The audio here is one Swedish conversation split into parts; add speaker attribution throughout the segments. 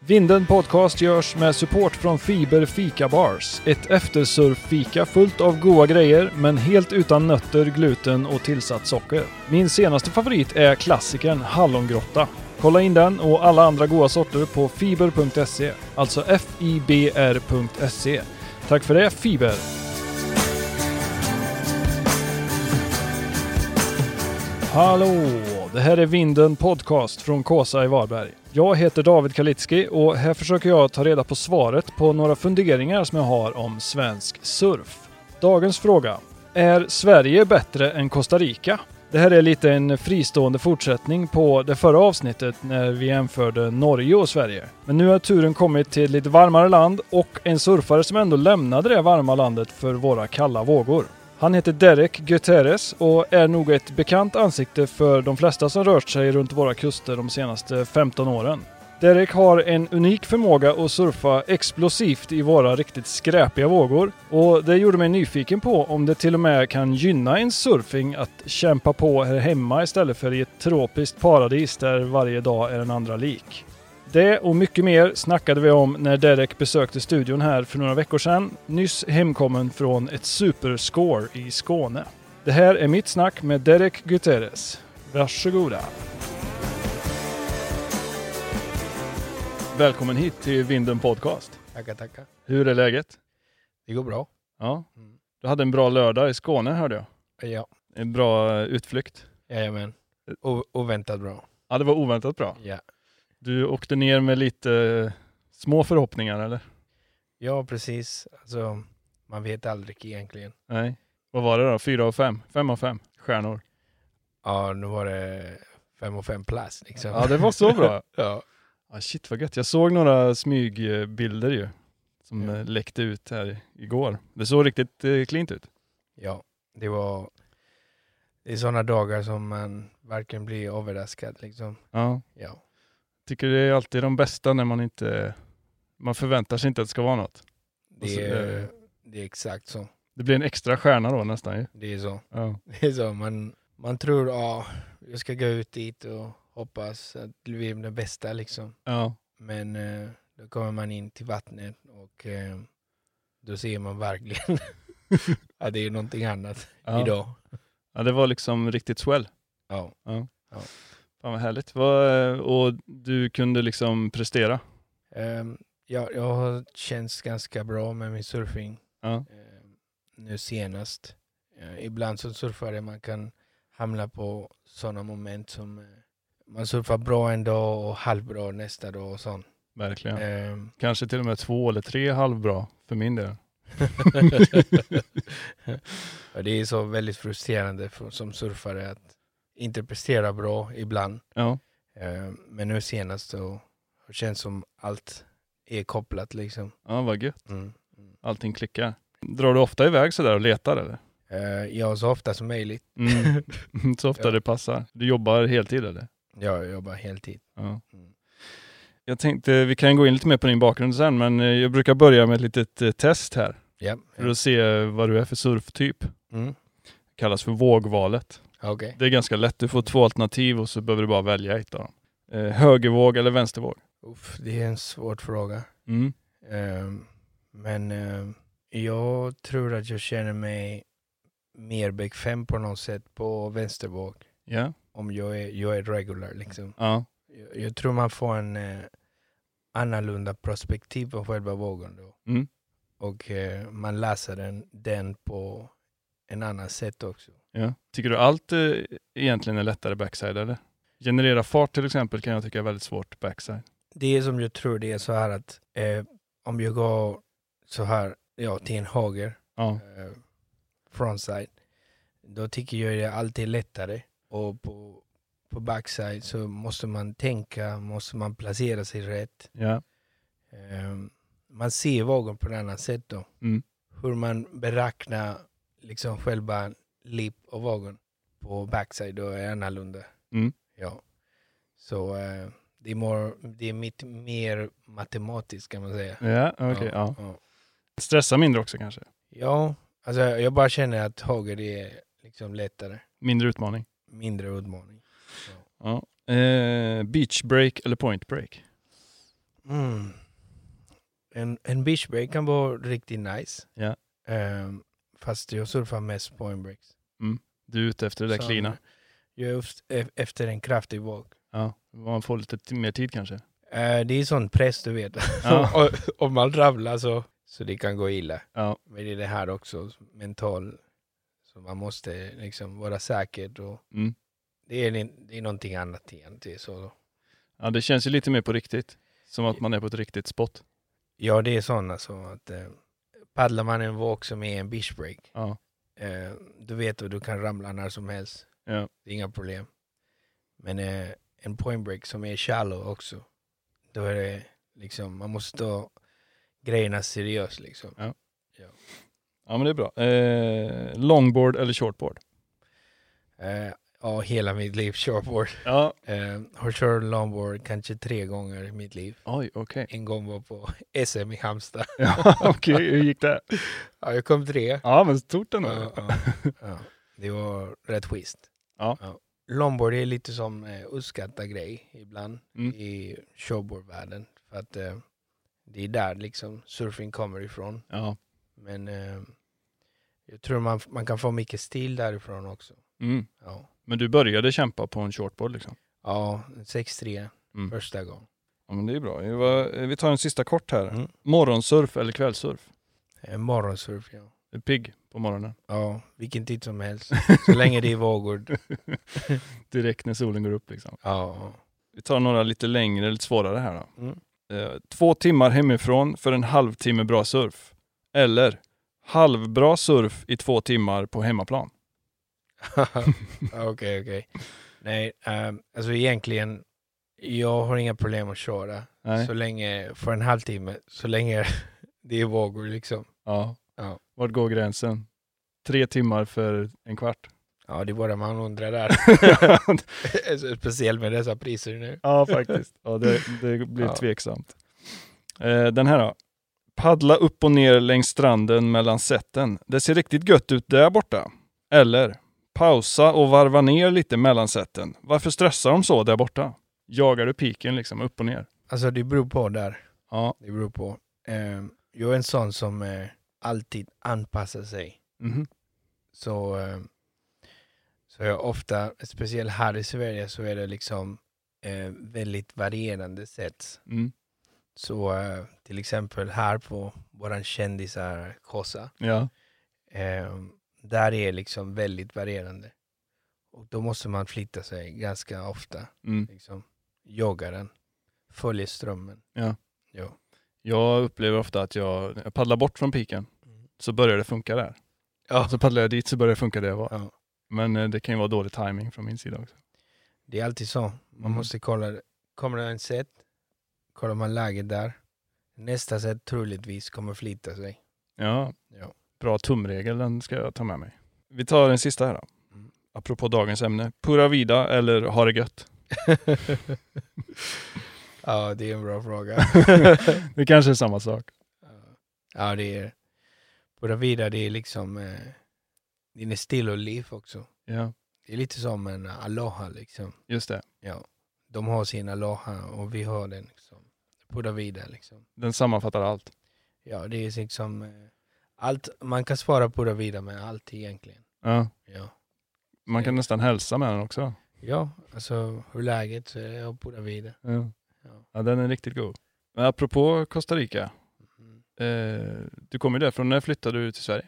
Speaker 1: Vinden Podcast görs med support från Fiber Fika Bars. Ett eftersurffika fullt av goda grejer, men helt utan nötter, gluten och tillsatt socker. Min senaste favorit är klassikern Hallongrotta. Kolla in den och alla andra goda sorter på fiber.se, alltså fibr.se. E. Tack för det Fiber! Hallå! Det här är Vinden Podcast från Kåsa i Varberg. Jag heter David Kalitski och här försöker jag ta reda på svaret på några funderingar som jag har om svensk surf. Dagens fråga. Är Sverige bättre än Costa Rica? Det här är lite en fristående fortsättning på det förra avsnittet när vi jämförde Norge och Sverige. Men nu har turen kommit till lite varmare land och en surfare som ändå lämnade det varma landet för våra kalla vågor. Han heter Derek Guterres och är nog ett bekant ansikte för de flesta som rört sig runt våra kuster de senaste 15 åren. Derek har en unik förmåga att surfa explosivt i våra riktigt skräpiga vågor och det gjorde mig nyfiken på om det till och med kan gynna en surfing att kämpa på här hemma istället för i ett tropiskt paradis där varje dag är den andra lik. Det och mycket mer snackade vi om när Derek besökte studion här för några veckor sedan, nyss hemkommen från ett superscore i Skåne. Det här är mitt snack med Derek Guterres. Varsågoda! Välkommen hit till Vinden Podcast.
Speaker 2: Tackar, tackar.
Speaker 1: Hur är läget?
Speaker 2: Det går bra.
Speaker 1: Ja,
Speaker 2: Mm.
Speaker 1: du hade en bra lördag i Skåne hörde jag.
Speaker 2: Ja,
Speaker 1: En bra eh, utflykt.
Speaker 2: jajamän. O- oväntat bra.
Speaker 1: Ja, det var oväntat bra.
Speaker 2: Ja.
Speaker 1: Du åkte ner med lite eh, små förhoppningar eller?
Speaker 2: ja, precis. Alltså, man vet aldrig egentligen.
Speaker 1: Nej. Vad var det då? Fyra av fem? Fem av fem stjärnor?
Speaker 2: Ja, nu var det fem och fem plus liksom.
Speaker 1: Ja, det var så bra.
Speaker 2: Ja.
Speaker 1: Ah, shit vad gött. Jag såg några smygbilder ju. Som
Speaker 2: Ja.
Speaker 1: eh, läckte ut här igår. Det såg riktigt eh, klint ut.
Speaker 2: ja, det var... Det är sådana dagar som man varken blir överraskad liksom.
Speaker 1: Ja.
Speaker 2: Ja,
Speaker 1: Tycker det är alltid de bästa när man inte... Man förväntar sig inte att det ska vara något. Och så-
Speaker 2: det är, det är exakt så.
Speaker 1: Det blir en extra stjärna då nästan ju.
Speaker 2: Det är så.
Speaker 1: Ja.
Speaker 2: Det är så. Man, man tror, ja, jag ska gå ut dit och hoppas att det blir den bästa liksom.
Speaker 1: ja.
Speaker 2: Men eh, då kommer man in till vattnet och eh, då ser man verkligen att det är någonting annat
Speaker 1: Ja.
Speaker 2: idag.
Speaker 1: ja, det var liksom riktigt swell.
Speaker 2: Ja.
Speaker 1: Fan vad härligt. Vad, eh, och du kunde liksom prestera.
Speaker 2: Ehm, jag, jag har känts ganska bra med min surfing
Speaker 1: Ja.
Speaker 2: ehm, nu senast. Eh, ibland som surfare man kan hamna på sådana moment som eh, man surfar bra en dag och halvbra nästa dag och sånt.
Speaker 1: Verkligen.
Speaker 2: Ehm,
Speaker 1: Kanske till och med två eller tre halvbra för min del.
Speaker 2: och det är så väldigt frustrerande för, som surfare att inte prestera bra ibland.
Speaker 1: Ja.
Speaker 2: Eh, Men nu senast så har det känns som allt är kopplat liksom.
Speaker 1: Ja, vad gött.
Speaker 2: Mm.
Speaker 1: Allting klickar. Drar du ofta iväg sådär och letar eller?
Speaker 2: Eh, Ja, så ofta som möjligt.
Speaker 1: Mm. Så ofta
Speaker 2: Ja.
Speaker 1: det passar. Du jobbar heltid eller?
Speaker 2: Jag jobbar heltid.
Speaker 1: Ja.
Speaker 2: Mm.
Speaker 1: Jag tänkte, vi kan gå in lite mer på din bakgrund sen, men eh, jag brukar börja med ett litet eh, test här.
Speaker 2: Ja.
Speaker 1: För att se eh, vad du är för surftyp. Det
Speaker 2: Mm.
Speaker 1: kallas för vågvalet.
Speaker 2: Okej.
Speaker 1: Det är ganska lätt, du får två alternativ och så behöver du bara välja ett av dem. Eh, högervåg eller vänstervåg?
Speaker 2: Uff, Det är en svår fråga.
Speaker 1: Mm.
Speaker 2: Eh, Men eh, jag tror att jag känner mig mer bekväm på något sätt på vänstervåg.
Speaker 1: Ja.
Speaker 2: Om jag är, jag är regular liksom.
Speaker 1: ja.
Speaker 2: Jag, jag tror man får en eh, annorlunda perspektiv på själva vågen då.
Speaker 1: Mm.
Speaker 2: Och eh, man läser den, den på en annan sätt också.
Speaker 1: ja. Tycker du allt eh, egentligen är lättare backside eller? Generera fart till exempel kan jag tycka är väldigt svårt backside.
Speaker 2: Det är som jag tror det är så här att eh, om jag går så här ja, till en höger,
Speaker 1: Ja.
Speaker 2: eh, frontside, då tycker jag det är alltid lättare. Och på, på backside så måste man tänka, måste man placera sig rätt.
Speaker 1: Ja.
Speaker 2: Ehm, man ser vågen på ett annat sätt då.
Speaker 1: Mm.
Speaker 2: Hur man beräknar liksom själva lip och vågen på backside då är annorlunda.
Speaker 1: Mm.
Speaker 2: Ja. Så eh, det, är more, det är mitt mer matematiskt kan man säga.
Speaker 1: Ja, okej. typ. ja.
Speaker 2: ja.
Speaker 1: Stressa mindre också kanske?
Speaker 2: Ja, alltså jag bara känner att höger är liksom lättare,
Speaker 1: Mindre utmaning?
Speaker 2: mindre utmaning.
Speaker 1: Ja. Eh, beach break eller point break?
Speaker 2: Mm. En, en beach break kan vara riktigt nice.
Speaker 1: Ja.
Speaker 2: Ehm, fast jag surfar mest point breaks.
Speaker 1: Du är ute efter det där
Speaker 2: Så
Speaker 1: klina.
Speaker 2: Jag är eft- e- efter en kraftig våg.
Speaker 1: Ja, man får lite t- mer tid kanske.
Speaker 2: Eh, det är sån press du vet.
Speaker 1: Ja.
Speaker 2: Och- Om man ramlar så, så det kan gå illa.
Speaker 1: Ja.
Speaker 2: Men det är det här också, mental. Så man måste liksom vara säker. Och
Speaker 1: Mm.
Speaker 2: det, är, li- det är någonting annat egentligen. Så,
Speaker 1: ja, det känns ju lite mer på riktigt. Som att man är på ett riktigt spot.
Speaker 2: ja, det är sådana som att eh, paddlar man en våg som är en beach break.
Speaker 1: Ja,
Speaker 2: Eh, du vet att du kan ramla när som helst.
Speaker 1: Ja.
Speaker 2: Det är inga problem. Men eh, en point break som är shallow också. Då är det liksom, man måste ta grejerna seriöst liksom.
Speaker 1: ja men det är bra. Eh, longboard eller shortboard?
Speaker 2: Eh, ja, hela mitt liv shortboard.
Speaker 1: Ja.
Speaker 2: Eh, har kört longboard kanske tre gånger i mitt liv.
Speaker 1: Oj, okej.
Speaker 2: En gång var på SM i Halmstad.
Speaker 1: Ja, okej, hur gick det?
Speaker 2: Ja, jag kom tre.
Speaker 1: Ja, men stort ändå.
Speaker 2: Ja, ja, ja. Det var rätt schysst.
Speaker 1: Ja.
Speaker 2: Longboard är lite som eh, uppskattad grej ibland
Speaker 1: Mm.
Speaker 2: i showboardvärlden. För att eh, det är där liksom surfing kommer ifrån.
Speaker 1: Ja.
Speaker 2: Men eh, jag tror man, man kan få mycket stil därifrån också.
Speaker 1: Mm.
Speaker 2: Ja,
Speaker 1: Men du började kämpa på en shortboard liksom?
Speaker 2: ja 6-3
Speaker 1: Mm.
Speaker 2: första gången.
Speaker 1: Ja, men det är bra. Det var- Vi tar en sista kort här.
Speaker 2: Mm.
Speaker 1: Morgonsurf eller kvällssurf?
Speaker 2: Eh, Morgonsurf, ja.
Speaker 1: Är du pigg på morgonen?
Speaker 2: Ja, vilken tid som helst. Så länge det är vågor. Ja,
Speaker 1: Direkt när solen går upp liksom.
Speaker 2: ja.
Speaker 1: Vi tar några lite längre, lite svårare här då.
Speaker 2: Mm.
Speaker 1: Eh, två timmar hemifrån för en halvtimme bra surf. Eller halvbra surf i två timmar på hemmaplan.
Speaker 2: Okej, Ah, okej. Nej, ehm, alltså egentligen, jag har inga problem att köra.
Speaker 1: Nej.
Speaker 2: Så länge, för en halvtimme, så länge det är vågor liksom.
Speaker 1: Ja.
Speaker 2: Ja.
Speaker 1: Vart går gränsen? Tre timmar för en kvart.
Speaker 2: Ja, det är bara man undrar där. Alltså, Speciellt med dessa priser nu.
Speaker 1: ja, faktiskt. Ja, det, det blir
Speaker 2: Ja.
Speaker 1: tveksamt. Eh, den här då. Paddla upp och ner längs stranden mellan sätten. Det ser riktigt gött ut där borta. Eller pausa och varva ner lite mellan sätten. Varför stressar de så där borta? Jagar du piken liksom upp och ner?
Speaker 2: Alltså det beror på där.
Speaker 1: Ja.
Speaker 2: Det beror på. Ehm, jag är en sån som eh, alltid anpassar sig.
Speaker 1: Mhm.
Speaker 2: så, eh, så jag ofta, speciellt här i Sverige, så är det liksom eh, väldigt varierande sätt.
Speaker 1: Mm.
Speaker 2: Så eh, till exempel här på våran kändisar Kosa,
Speaker 1: Ja.
Speaker 2: eh, där är liksom väldigt varierande. Och då måste man flytta sig ganska ofta.
Speaker 1: Mm.
Speaker 2: Liksom. Jogga den, följa strömmen.
Speaker 1: Jag upplever ofta att jag, jag paddlar bort från piken
Speaker 2: Mm.
Speaker 1: så börjar det funka där.
Speaker 2: Ja.
Speaker 1: Så paddlar jag dit så börjar det funka där jag var.
Speaker 2: Ja.
Speaker 1: Men eh, det kan ju vara dålig timing från min sida också.
Speaker 2: Det är alltid så. Man
Speaker 1: Mm.
Speaker 2: måste kolla. Kommer det en set, kollar man läget där. Nästa set troligtvis kommer flytta sig.
Speaker 1: Ja,
Speaker 2: Ja.
Speaker 1: bra tumregel, den ska jag ta med mig. Vi tar den sista här då.
Speaker 2: Mm.
Speaker 1: Apropå dagens ämne. Pura vida eller ha det gött?
Speaker 2: ja, det är en bra fråga.
Speaker 1: Det kanske är samma sak.
Speaker 2: ja, det är... Pura vida, det är liksom... Eh, det är still och liv också.
Speaker 1: Ja,
Speaker 2: Det är lite som en aloha liksom.
Speaker 1: just det.
Speaker 2: De har sin aloha och vi har den. Liksom. Pura vida liksom.
Speaker 1: Den sammanfattar allt.
Speaker 2: Ja, det är liksom... Eh, allt, man kan svara pura vida med allt egentligen.
Speaker 1: Ja.
Speaker 2: Ja.
Speaker 1: Man kan nästan hälsa med den också.
Speaker 2: Ja, alltså hur läget så är jag på det vidare.
Speaker 1: Ja.
Speaker 2: Ja.
Speaker 1: Ja, den är riktigt god. Men apropå Costa Rica.
Speaker 2: Mm.
Speaker 1: Eh, du kommer ju därifrån. När flyttade du till Sverige?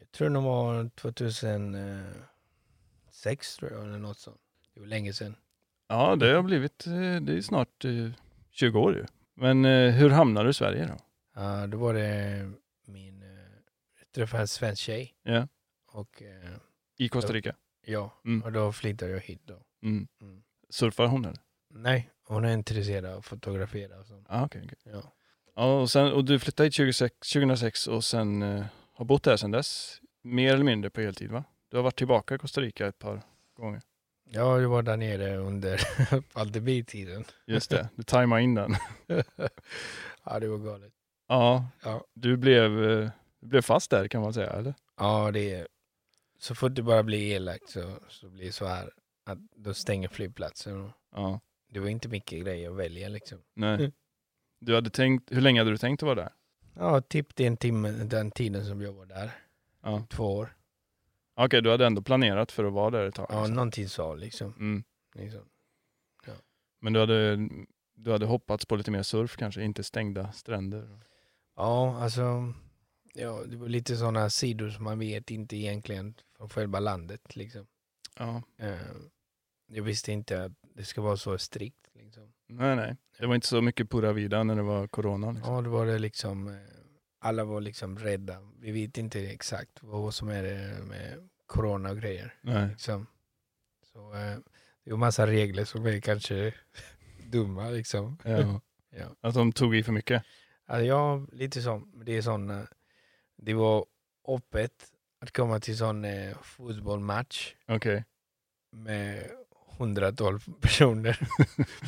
Speaker 2: Jag tror det var 2006 tror jag eller något sånt. Det var länge sedan.
Speaker 1: Ja, det har blivit, eh, det är snart eh, 20 år ju. Men eh, hur hamnade du i Sverige då?
Speaker 2: Uh, då var det min, eh, jag träffade en svensk tjej
Speaker 1: Ja.
Speaker 2: och eh,
Speaker 1: I Costa Rica?
Speaker 2: ja,
Speaker 1: Mm.
Speaker 2: och då flyttade jag hit då.
Speaker 1: Mm.
Speaker 2: Mm.
Speaker 1: Surfar hon eller?
Speaker 2: Nej, hon är intresserad av att fotografera och sånt.
Speaker 1: Ah, okay, okay.
Speaker 2: Ja.
Speaker 1: Ja, och, sen, och du flyttade hit 26, 2006 och sen eh, har bott här sedan dess. Mer eller mindre på heltid va? Du har varit tillbaka i Costa Rica ett par gånger.
Speaker 2: ja, jag var där nere under pandemitiden.
Speaker 1: Just det, du tajmade in den.
Speaker 2: ja, det var galet.
Speaker 1: Ja,
Speaker 2: Ja.
Speaker 1: du blev, eh, du blev fast där kan man säga eller?
Speaker 2: Ja, det är... Så fort det bara blir elakt så, så blir det så här att de stänger flygplatsen. och
Speaker 1: Ja,
Speaker 2: Det var inte mycket grejer att välja liksom.
Speaker 1: nej.
Speaker 2: Mm.
Speaker 1: Du hade tänkt, hur länge hade du tänkt att vara där?
Speaker 2: Ja, typ den, timmen, den tiden som jag var där.
Speaker 1: Ja.
Speaker 2: Två år.
Speaker 1: Okej, du hade ändå planerat för att vara där ett tag.
Speaker 2: Ja,
Speaker 1: liksom.
Speaker 2: någonting så liksom.
Speaker 1: mm.
Speaker 2: liksom.
Speaker 1: Men du hade, du hade hoppats på lite mer surf kanske, inte stängda stränder.
Speaker 2: Ja, alltså. Ja, det var lite sådana sidor som man vet inte egentligen från själva landet liksom.
Speaker 1: Ja.
Speaker 2: Eh, Jag visste inte att det ska vara så strikt liksom.
Speaker 1: Nej, nej. Det var inte så mycket pura vida när det var corona. Liksom.
Speaker 2: Ja, då var det liksom, eh, alla var liksom rädda. Vi vet inte exakt vad som är det med corona och grejer.
Speaker 1: Nej.
Speaker 2: Liksom. Så, eh, det är massa regler som är kanske dumma liksom.
Speaker 1: Ja.
Speaker 2: Ja.
Speaker 1: Att de tog i för mycket.
Speaker 2: Alltså, ja, lite så. Det är sån, eh, det var öppet att komma till sån eh, fotbollsmatch
Speaker 1: Okej.
Speaker 2: med hundratolv personer.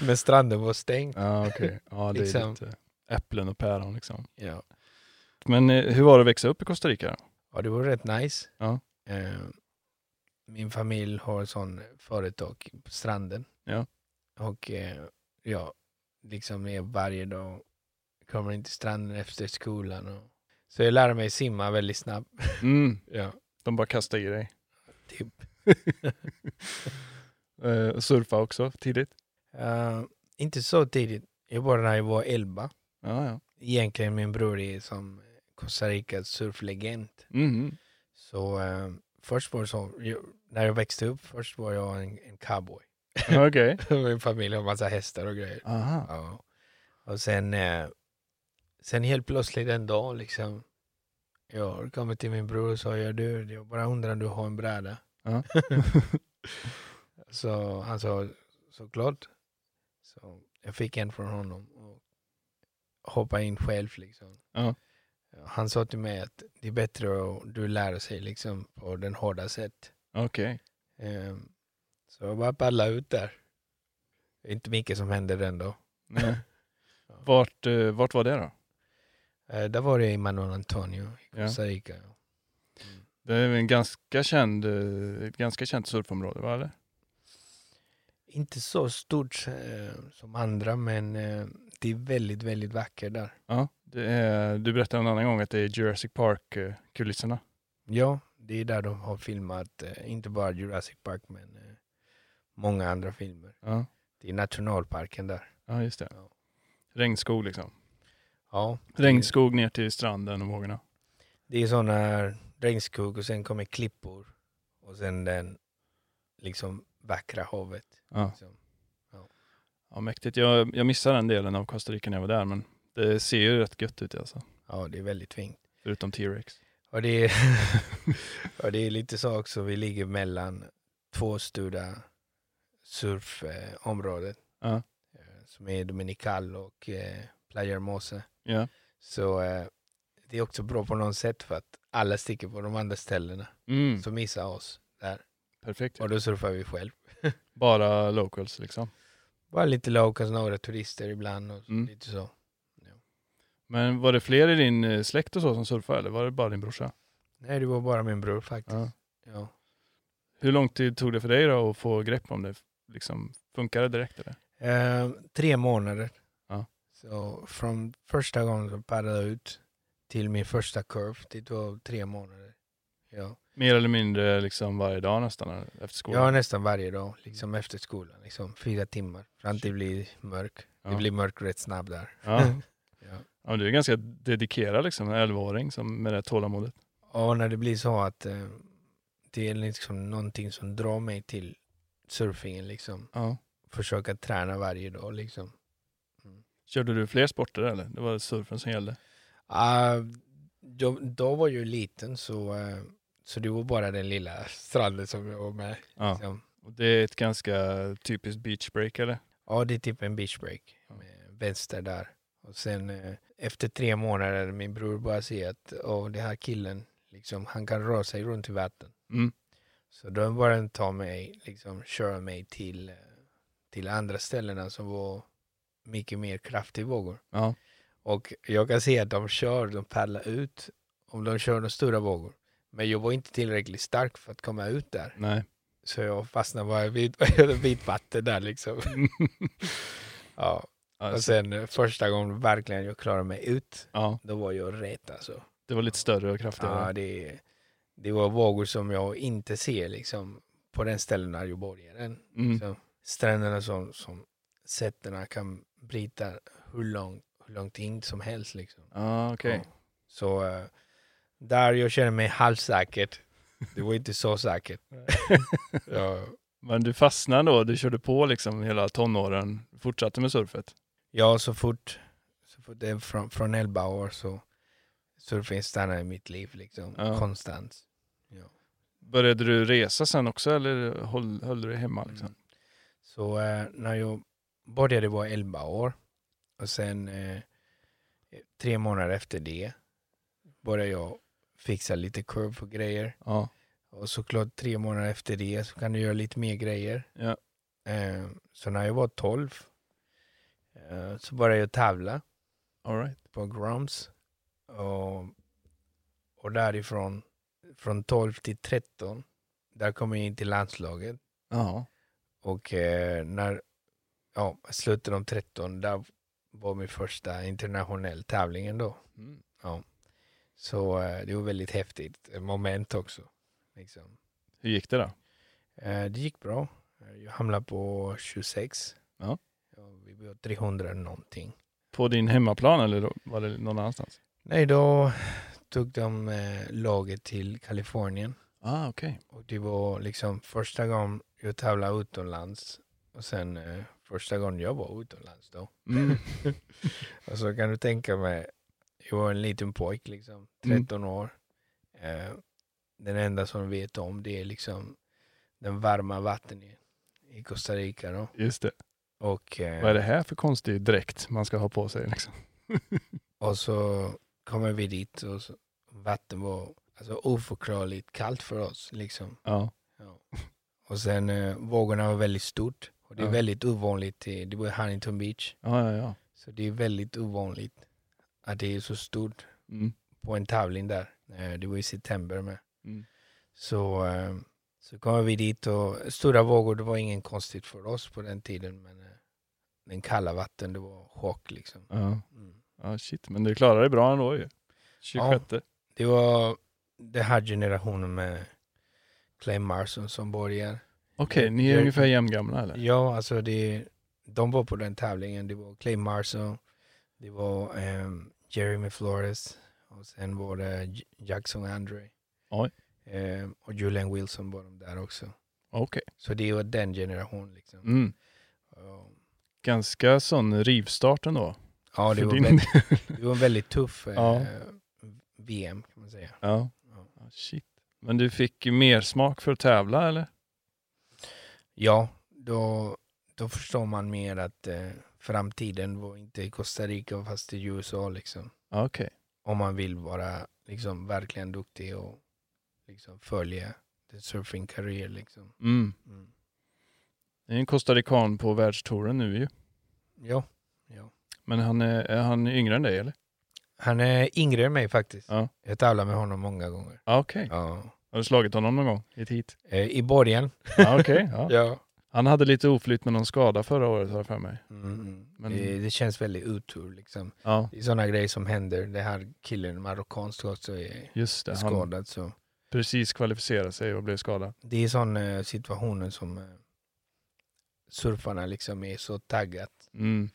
Speaker 2: Men stranden var stängd.
Speaker 1: Ja, okej. Ja, det är
Speaker 2: Liksom.
Speaker 1: lite äpplen och päron liksom.
Speaker 2: Ja.
Speaker 1: Men eh, hur var det att växa upp i Costa Rica?
Speaker 2: Ja, det var rätt nice.
Speaker 1: Ja.
Speaker 2: Eh, min familj har ett sånt företag på stranden.
Speaker 1: Ja.
Speaker 2: Och eh, ja, liksom är varje dag kommer in till stranden efter skolan. Och, så jag lärde mig simma väldigt snabbt.
Speaker 1: Mm.
Speaker 2: Ja,
Speaker 1: De bara kastade i dig.
Speaker 2: typ.
Speaker 1: Eh, surfa också tidigt.
Speaker 2: Eh, inte så tidigt. Jag var när jag var 11.
Speaker 1: Ja, ja.
Speaker 2: Egentligen min bror är som Costa Ricas surflegend.
Speaker 1: Mhm.
Speaker 2: Så eh, först var det så, jag, när jag växte upp, först var jag en, en cowboy.
Speaker 1: Okej.
Speaker 2: Min familj har massa hästar och grejer.
Speaker 1: Aha.
Speaker 2: Ja. Och sen, eh, sen helt plötsligt en dag liksom. Jag kommer till min bror och sa, jag du, jag bara undrar om du har en bräda.
Speaker 1: Ja.
Speaker 2: så han sa, såklart. Så jag fick en från honom och hoppade in själv liksom.
Speaker 1: Ja.
Speaker 2: Han sa till mig att det är bättre att du lär sig liksom på den hårda sätt.
Speaker 1: Okej.
Speaker 2: Ehm, Så jag bara paddlade ut där. Det är Inte mycket som hände den då.
Speaker 1: Nej. Vart, eh, vart var det då?
Speaker 2: Eh, Där var det i Manuel Antonio i
Speaker 1: Ja.
Speaker 2: Costa Rica. Ja.
Speaker 1: Det är en ganska känd, eh, ett ganska känt surfområde, va? Eller?
Speaker 2: Inte så stort eh, som andra, men eh, det är väldigt, väldigt vackert där.
Speaker 1: Ja. Det är, du berättade en annan gång att det är Jurassic eh, Park-kulisserna.
Speaker 2: Ja, det är där de har filmat, eh, inte bara Jurassic Park, men eh, många andra filmer.
Speaker 1: Ja.
Speaker 2: Det är nationalparken där.
Speaker 1: ja, just det.
Speaker 2: Ja.
Speaker 1: Regnskog liksom.
Speaker 2: Ja,
Speaker 1: Regnskog ner till stranden och vågorna.
Speaker 2: det är sådana regnskog och sen kommer klippor och sen den liksom vackra havet.
Speaker 1: Ja.
Speaker 2: Liksom.
Speaker 1: Ja, mäktigt. Jag, jag missade den delen av Costa Rica när jag var där, men det ser ju rätt gött ut alltså.
Speaker 2: Ja, det är väldigt fint.
Speaker 1: Förutom T-Rex.
Speaker 2: Och det, är, och det är lite så också, vi ligger mellan två stora surfområden
Speaker 1: Ja.
Speaker 2: eh, som är Dominical och eh, Playa Hermosa.
Speaker 1: Ja.
Speaker 2: Så eh, det är också bra på något sätt för att alla sticker på de andra ställena
Speaker 1: Mm. Typ.
Speaker 2: som missar oss där.
Speaker 1: Perfekt.
Speaker 2: Och då surfar vi själv.
Speaker 1: Bara locals liksom.
Speaker 2: Bara lite locals, några turister ibland och
Speaker 1: Mm.
Speaker 2: lite så.
Speaker 1: Men var det fler i din eh, släkt och så som surfade eller var det bara din brorsa?
Speaker 2: Nej, det var bara min bror faktiskt.
Speaker 1: Ja.
Speaker 2: Ja.
Speaker 1: Hur lång tid tog det för dig då att få grepp om det? Liksom, funkar det direkt eller?
Speaker 2: Eh, tre månader.
Speaker 1: Ja.
Speaker 2: Så från första gången jag paddlade ut till min första curve, det tog tre månader. Ja,
Speaker 1: Mer eller mindre liksom varje dag nästan eller? efter skolan?
Speaker 2: ja nästan varje dag,
Speaker 1: Mm.
Speaker 2: liksom efter skolan. Liksom, fyra timmar, fram till det blir mörk.
Speaker 1: Ja.
Speaker 2: Det blir mörk rätt snabbt där.
Speaker 1: Ja.
Speaker 2: Ja.
Speaker 1: Ja, men du är ganska dedikerad liksom, en 11-åring som, med det här tålamodet.
Speaker 2: Och när det blir så att eh, det är liksom någonting som drar mig till surfingen, liksom.
Speaker 1: Ja.
Speaker 2: Försöka träna varje dag, liksom.
Speaker 1: Körde du fler sporter eller? Det var surfen som gällde?
Speaker 2: Ah, då, då var jag liten så, eh, så det var bara den lilla stranden som jag var med.
Speaker 1: Ja.
Speaker 2: Liksom.
Speaker 1: Och det är ett ganska typiskt beach break eller?
Speaker 2: Ja, det är typ en beach break med vänster där. Och sen eh, efter tre månader, min bror bara ser att oh, den här killen, liksom, han kan röra sig runt i vatten.
Speaker 1: Mm.
Speaker 2: Så då bara den ta mig, liksom köra mig till, eh, till andra ställena som var mycket mer kraftiga vågor.
Speaker 1: Ja.
Speaker 2: Och jag kan se att de kör, de paddlar ut, om de kör de stora vågor. Men jag var inte tillräckligt stark för att komma ut där.
Speaker 1: Nej.
Speaker 2: Så jag fastnade bara vid, vid vatten där liksom. ja. Och
Speaker 1: Alltså,
Speaker 2: sen eh, första gången verkligen jag klarade mig ut,
Speaker 1: ja,
Speaker 2: då var jag rätt alltså.
Speaker 1: det var lite större och kraftigare.
Speaker 2: Ja, det, det var vågor som jag inte ser liksom på den ställen där jag började.
Speaker 1: Mm.
Speaker 2: Så stränderna som, som sätterna kan bryta hur, lång, hur långt in som helst. Liksom.
Speaker 1: Ah, okej.
Speaker 2: Ja. Så eh, där jag känner mig halvsäkert. Det var inte så säkert. jag,
Speaker 1: Men du fastnade då, du körde på liksom hela tonåren, fortsatte med surfet.
Speaker 2: jag så fort, så fort det är från, från 11 år så surfing stannar i mitt liv liksom,
Speaker 1: Ja.
Speaker 2: konstant.
Speaker 1: Började du resa sen också eller höll, höll du dig hemma? Liksom?
Speaker 2: Mm. Så eh, när jag började var 11 år och sen eh, tre månader efter det började jag fixa lite kurv på grejer.
Speaker 1: Ja.
Speaker 2: Och såklart tre månader efter det så kan du göra lite mer grejer.
Speaker 1: Ja.
Speaker 2: Eh, så när jag var 12 eh, så började jag tävla
Speaker 1: All right.
Speaker 2: på Grums. Och, och därifrån, från 12 till 13, där kom jag in till landslaget.
Speaker 1: Ja.
Speaker 2: Och eh, när, ja, slutet om 13, där var min första internationell tävling ändå.
Speaker 1: Mm.
Speaker 2: Så eh, det var väldigt häftigt eh, moment också. Liksom.
Speaker 1: Hur gick det då?
Speaker 2: Eh, det gick bra. Eh, Jag hamnade på 26.
Speaker 1: Ja.
Speaker 2: vi var 300 någonting.
Speaker 1: På din hemmaplan eller då- var det någon annanstans?
Speaker 2: Nej, då tog de eh, laget till Kalifornien.
Speaker 1: Ah, okej.
Speaker 2: Och det var liksom första gången jag tävlade utomlands. Och sen eh, första gången jag var utomlands då.
Speaker 1: Mm.
Speaker 2: Och så kan du tänka mig, jag var en liten pojk liksom,
Speaker 1: Mm.
Speaker 2: 13 år. Eh, den enda som vet om det är liksom den varma vatten i, i Costa Rica då.
Speaker 1: Just det.
Speaker 2: Och,
Speaker 1: Vad är
Speaker 2: eh,
Speaker 1: det här för konstig dräkt man ska ha på sig? Liksom?
Speaker 2: och så kommer vi dit och så, vatten var alltså, oförklarligt kallt för oss liksom.
Speaker 1: Ja.
Speaker 2: Och sen eh, vågorna var väldigt stort. Och det är
Speaker 1: Ja.
Speaker 2: väldigt ovanligt, i- det var i Huntington Beach.
Speaker 1: Ja, ja, ja.
Speaker 2: Så det är väldigt ovanligt att det är så stort
Speaker 1: Mm.
Speaker 2: på en tävling där. Eh, Det var i september med.
Speaker 1: Mm.
Speaker 2: Så, eh, så kom vi dit och stora vågor, det var ingen konstigt för oss på den tiden. Men eh, den kalla vatten, det var chock liksom.
Speaker 1: Ja.
Speaker 2: Mm.
Speaker 1: ja, shit. Men du klarade det bra ändå ju. 26.
Speaker 2: Det var den här generationen med Clay Marson som börjar.
Speaker 1: Okej, ni är
Speaker 2: Jag-
Speaker 1: ungefär jämngamla eller?
Speaker 2: Ja, alltså det, de var på den tävlingen. Det var Clay Marson, det var eh, Jeremy Flores och sen var det J- Jackson Andre.
Speaker 1: Oj.
Speaker 2: Eh, och Julian Wilson var de där också.
Speaker 1: Okej.
Speaker 2: Så det var den generationen liksom.
Speaker 1: Mm.
Speaker 2: Ja.
Speaker 1: Ganska sån rivstart ändå.
Speaker 2: Ja, det
Speaker 1: för
Speaker 2: var,
Speaker 1: din
Speaker 2: väldigt, det var en väldigt tuff eh,
Speaker 1: Ja.
Speaker 2: VM kan man säga.
Speaker 1: Ja.
Speaker 2: Ja.
Speaker 1: Ja, Shit. Men du fick mer smak för att tävla eller?
Speaker 2: Ja, då, då förstår man mer att eh, framtiden var inte i Costa Rica fast i USA liksom.
Speaker 1: Ja, Okej.
Speaker 2: Om man vill vara liksom verkligen duktig och liksom följa the surfing career liksom.
Speaker 1: Mm.
Speaker 2: Mm.
Speaker 1: Det är en costarican på världstouren nu ju.
Speaker 2: Ja,
Speaker 1: Men han är, är han yngre än dig eller?
Speaker 2: han är yngre än mig faktiskt.
Speaker 1: Ja.
Speaker 2: Jag talar med honom många gånger.
Speaker 1: Ja, Okej.
Speaker 2: Ja.
Speaker 1: Har du slagit honom någon gång? I Ett hit?
Speaker 2: Eh, I början.
Speaker 1: Ja, Okej. ja.
Speaker 2: Ja.
Speaker 1: Han hade lite oflytt med någon skada förra året har jag för mig.
Speaker 2: Mm, mm.
Speaker 1: Men-
Speaker 2: Det, det känns väldigt otur liksom.
Speaker 1: Ja,
Speaker 2: Det är sådana grejer som händer. Den här killen, marockansk också, är
Speaker 1: just det. Han
Speaker 2: skadad. Så
Speaker 1: precis kvalificerade sig och blev skadad.
Speaker 2: det är sådana situationer som eh, surfarna liksom är så taggat.
Speaker 1: Mm.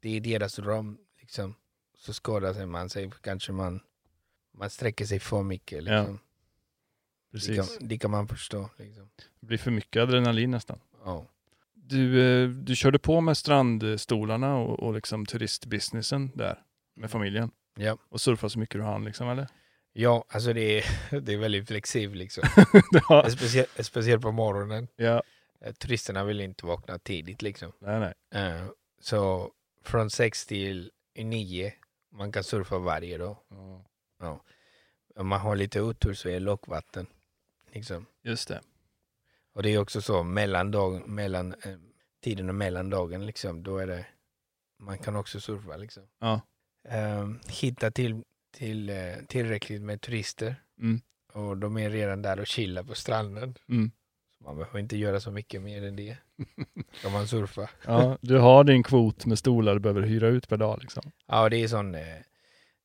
Speaker 2: Det är deras dröm. Liksom. Så skadar sig man sig. Kanske man, man sträcker sig för mycket. Liksom. det,
Speaker 1: Precis.
Speaker 2: kan, det kan man förstå. Liksom.
Speaker 1: Det blir för mycket adrenalin nästan.
Speaker 2: Ja.
Speaker 1: Du, eh, du körde på med strandstolarna och, och liksom turistbusinessen där med familjen.
Speaker 2: Ja.
Speaker 1: Och surfade så mycket du hann liksom, eller?
Speaker 2: ja, alltså det är, det är väldigt flexibelt. Liksom.
Speaker 1: ja.
Speaker 2: Speciellt, speciellt på morgonen.
Speaker 1: ja.
Speaker 2: Eh, Turisterna vill inte vakna tidigt. Liksom.
Speaker 1: Nej, nej.
Speaker 2: Eh, Så från sex till nio man kan surfa varje dag.
Speaker 1: Ja.
Speaker 2: Om man har lite otur så är lockvatten. Liksom.
Speaker 1: Just det.
Speaker 2: Och det är också så mellan, dag, mellan eh, tiden och mellan dagen, liksom, då är det, man kan också surfa. Liksom.
Speaker 1: Ja.
Speaker 2: Eh, hitta till, till, eh, tillräckligt med turister
Speaker 1: Mm.
Speaker 2: och de är redan där och chillar på stranden.
Speaker 1: Mm.
Speaker 2: Man behöver inte göra så mycket mer än det. Ska man surfa.
Speaker 1: Ja, du har din kvot med stolar du behöver hyra ut per dag. Liksom.
Speaker 2: Ja, det är sån... eh,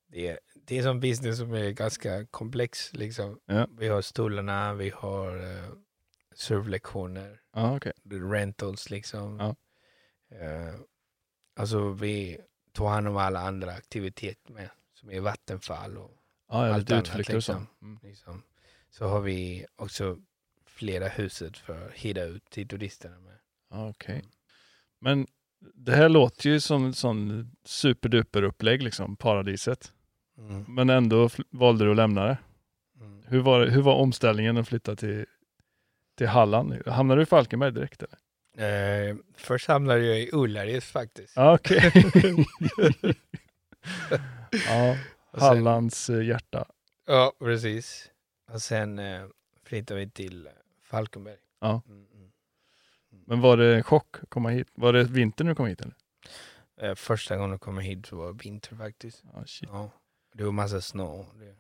Speaker 2: Det är, det är sån business som är ganska komplex liksom.
Speaker 1: Ja.
Speaker 2: Vi har stolarna, vi har eh, surflektioner,
Speaker 1: Ja, okej.
Speaker 2: rentals liksom.
Speaker 1: Ja.
Speaker 2: Eh, alltså vi tog hand om alla andra aktiviteter med, som är vattenfall och
Speaker 1: Ja, ja,
Speaker 2: Allt
Speaker 1: lite
Speaker 2: annat,
Speaker 1: utflykter och så.
Speaker 2: liksom.
Speaker 1: Mm.
Speaker 2: liksom. Så har vi också flera huset för att hyra ut till turisterna med.
Speaker 1: Ja, Okej. Men det här låter ju som en sån superduper upplägg, liksom, paradiset.
Speaker 2: Mm.
Speaker 1: Men ändå fl- valde du att lämna det.
Speaker 2: Mm.
Speaker 1: Hur var, det- hur var omställningen att flytta till, till Halland? Hamnade du i Falkenberg direkt? Eller?
Speaker 2: Eh, först hamnade jag i Ullared faktiskt.
Speaker 1: Ja, Ah, Okej. ja,
Speaker 2: Och sen-
Speaker 1: Hallands eh, hjärta.
Speaker 2: Ja, precis. Och sen eh, flyttade vi till eh, Falkenberg.
Speaker 1: Ja.
Speaker 2: Mm, mm. Mm.
Speaker 1: Men var det en chock att komma hit? Var det vinter när du kom hit? Eller?
Speaker 2: Eh, första gången jag kom hit så var det vinter faktiskt.
Speaker 1: Ja, Ah, shit.
Speaker 2: Ja. Det var massa snö. Det,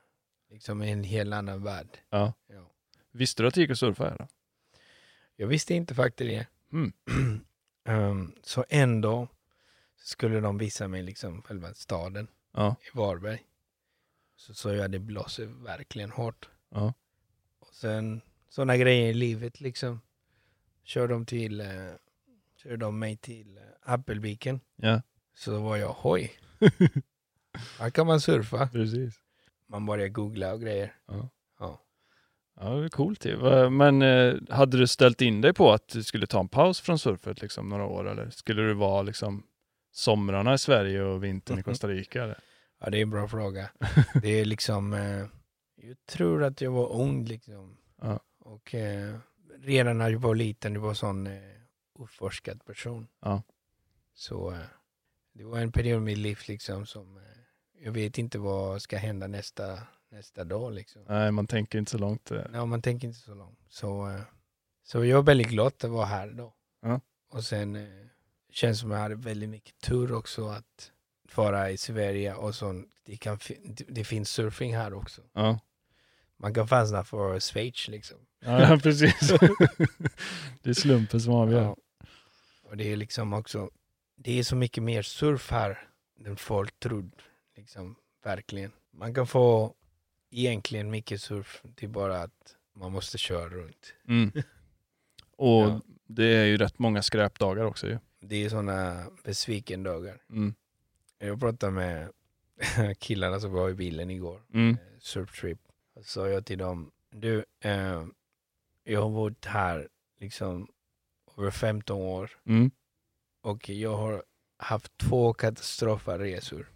Speaker 2: liksom en helt annan värld.
Speaker 1: Ja. Visste du att det gick att surfa här? Då?
Speaker 2: Jag visste inte faktiskt det.
Speaker 1: Mm.
Speaker 2: Ehm, så en dag skulle de visa mig liksom själva staden
Speaker 1: Ja.
Speaker 2: i Varberg. Så, så jag det blåser verkligen hårt.
Speaker 1: Ja.
Speaker 2: Och sen sådana grejer i livet liksom. Kör de till, eh, kör de mig till eh, Appelviken.
Speaker 1: Ja.
Speaker 2: Så var jag hoj. Här kan man surfa.
Speaker 1: Precis.
Speaker 2: Man börjar googla och grejer.
Speaker 1: Ja, det är coolt ju. Va- Men eh, hade du ställt in dig på att du skulle ta en paus från surfet liksom, några år? Eller skulle du vara liksom, somrarna i Sverige och vintern i
Speaker 2: Mhm.
Speaker 1: Costa Rica? Eller?
Speaker 2: Ja, det är en bra fråga. Det är liksom, eh, jag tror att jag var ung liksom.
Speaker 1: Ja.
Speaker 2: Och eh, redan när jag var liten, jag var sån eh, oforskad person.
Speaker 1: Ja.
Speaker 2: Så eh, det var en period i mitt liv liksom som, eh, jag vet inte vad ska hända nästa, nästa dag liksom.
Speaker 1: Nej, man tänker inte så långt. eh.
Speaker 2: Ja, man tänker inte så långt. Så, eh, så jag är väldigt glad att vara här då.
Speaker 1: Ja.
Speaker 2: Och sen eh, känns som jag hade väldigt mycket tur också att vara i Sverige och så det, kan, fin- det finns surfing här också.
Speaker 1: Ja,
Speaker 2: Man kan fastna för Schweiz liksom.
Speaker 1: ja precis. det är slumpen som avgör.
Speaker 2: Ja. Och det är liksom också, det är så mycket mer surf här än folk tror, liksom, verkligen. Man kan få egentligen mycket surf, det är bara att man måste köra runt.
Speaker 1: Mm. Och
Speaker 2: Ja.
Speaker 1: det är ju rätt många skräpdagar också ju.
Speaker 2: Det är sådana besviken dagar.
Speaker 1: Mm.
Speaker 2: Jag pratade med killarna som var i bilen igår,
Speaker 1: Mm.
Speaker 2: eh, surftrip. Och sa jag till dem, du, eh, jag har varit här liksom över 15 år
Speaker 1: Mm.
Speaker 2: och jag har haft två katastrofresor.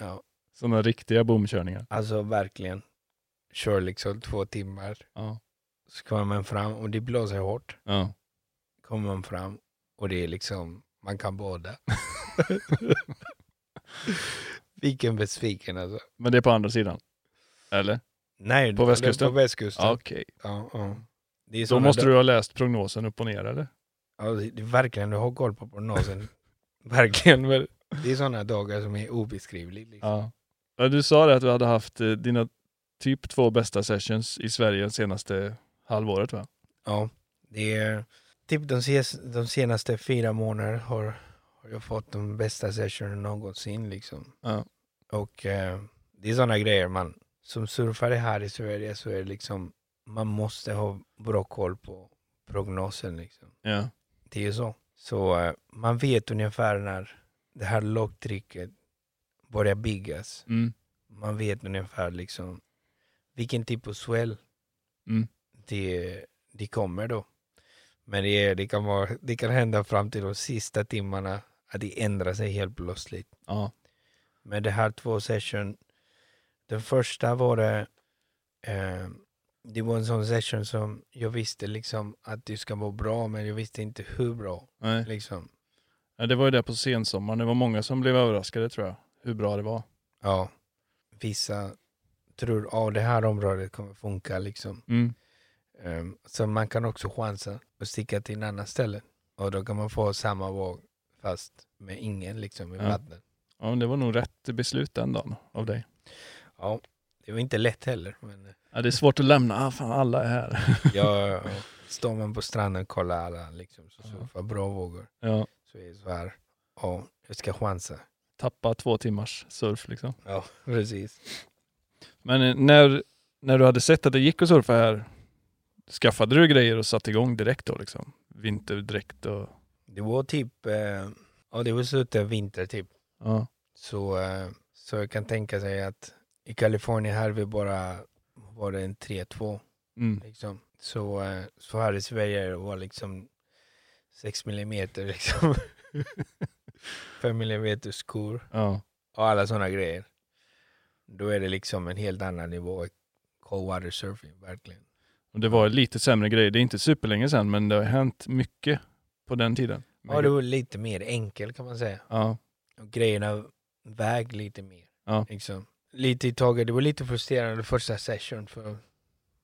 Speaker 2: ja,
Speaker 1: Sådana riktiga bomkörningar.
Speaker 2: alltså verkligen. Kör liksom två timmar,
Speaker 1: Ja.
Speaker 2: så kommer man fram och det blåser hårt.
Speaker 1: Ja.
Speaker 2: Kommer man fram och det är liksom, man kan bada. Vilken besviken alltså.
Speaker 1: Men det är på andra sidan? Eller?
Speaker 2: Nej,
Speaker 1: På
Speaker 2: det-
Speaker 1: västkusten?
Speaker 2: På västkusten. Ja.
Speaker 1: Okej.
Speaker 2: Ja, Det är
Speaker 1: Då
Speaker 2: såna
Speaker 1: måste
Speaker 2: dag-
Speaker 1: du ha läst prognosen upp och ner eller?
Speaker 2: Ja, det- det- verkligen, du har koll på prognosen. verkligen. men Det är sådana dagar som är obeskrivliga. Liksom.
Speaker 1: Ja. Ja, Du sa det att du hade haft eh, dina typ två bästa sessions i Sverige senaste halvåret va?
Speaker 2: Ja, det är typ de, ses, de senaste fyra månaderna har, har jag fått de bästa sessionerna någonsin liksom.
Speaker 1: Ja.
Speaker 2: Och eh, det är sådana grejer man, som surfare här i Sverige så är det liksom, man måste ha bra koll på prognosen liksom.
Speaker 1: Ja.
Speaker 2: Det är så. Så eh, man vet ungefär när det här lågtrycket börjar byggas.
Speaker 1: Mm.
Speaker 2: Man vet ungefär liksom vilken typ av swell
Speaker 1: Mm.
Speaker 2: det, det kommer då. Men det, är, det, kan vara, det kan hända fram till de sista timmarna att det ändrar sig helt plötsligt.
Speaker 1: ja.
Speaker 2: Men det här två session, den första var det, eh, det var en sån session som jag visste liksom att det ska vara bra men jag visste inte hur bra.
Speaker 1: Nej.
Speaker 2: Liksom.
Speaker 1: Ja, det var ju det på sensommaren. Det var många som blev överraskade tror jag. Hur bra det var.
Speaker 2: Ja, vissa tror att det här området kommer funka liksom.
Speaker 1: Mm.
Speaker 2: Ehm, så man kan också chansa och sticka till en annan ställe. Och då kan man få samma våg fast med ingen liksom i
Speaker 1: Ja.
Speaker 2: vattnet.
Speaker 1: Ja, men det var nog rätt beslut den dagen av dig.
Speaker 2: Ja, det var inte lätt heller. Men eh,
Speaker 1: Ja, det är svårt att lämna. Ah, fan, alla är här.
Speaker 2: jag, står man på stranden och kollar alla liksom, så surfar bra vågor.
Speaker 1: Ja,
Speaker 2: Så är det så här, ja, jag ska chansa.
Speaker 1: tappa två timmars surf liksom.
Speaker 2: Ja, precis.
Speaker 1: Men eh, när, när du hade sett att det gick att surfa här, skaffade du grejer och satte igång direkt då liksom? Vinterdräkt och...
Speaker 2: Det var typ, eh, ja det var slutet av vinter typ.
Speaker 1: Ja,
Speaker 2: Så, eh, så jag kan tänka sig att i Kalifornien här vi bara var det en 3-2
Speaker 1: mm.
Speaker 2: liksom. Så, eh, så här i Sverige var liksom 6 millimeter liksom. 5 millimeter skor.
Speaker 1: ja,
Speaker 2: och alla sådana grejer. Då är det liksom en helt annan nivå. i Cold water surfing, verkligen.
Speaker 1: och det var lite sämre grejer. Det är inte superlänge sedan, men det har hänt mycket på den tiden.
Speaker 2: Ja, det var lite mer enkel kan man säga.
Speaker 1: ja,
Speaker 2: Och grejerna väg lite mer.
Speaker 1: Ja.
Speaker 2: Liksom. Lite i taget. Det var lite frustrerande första session för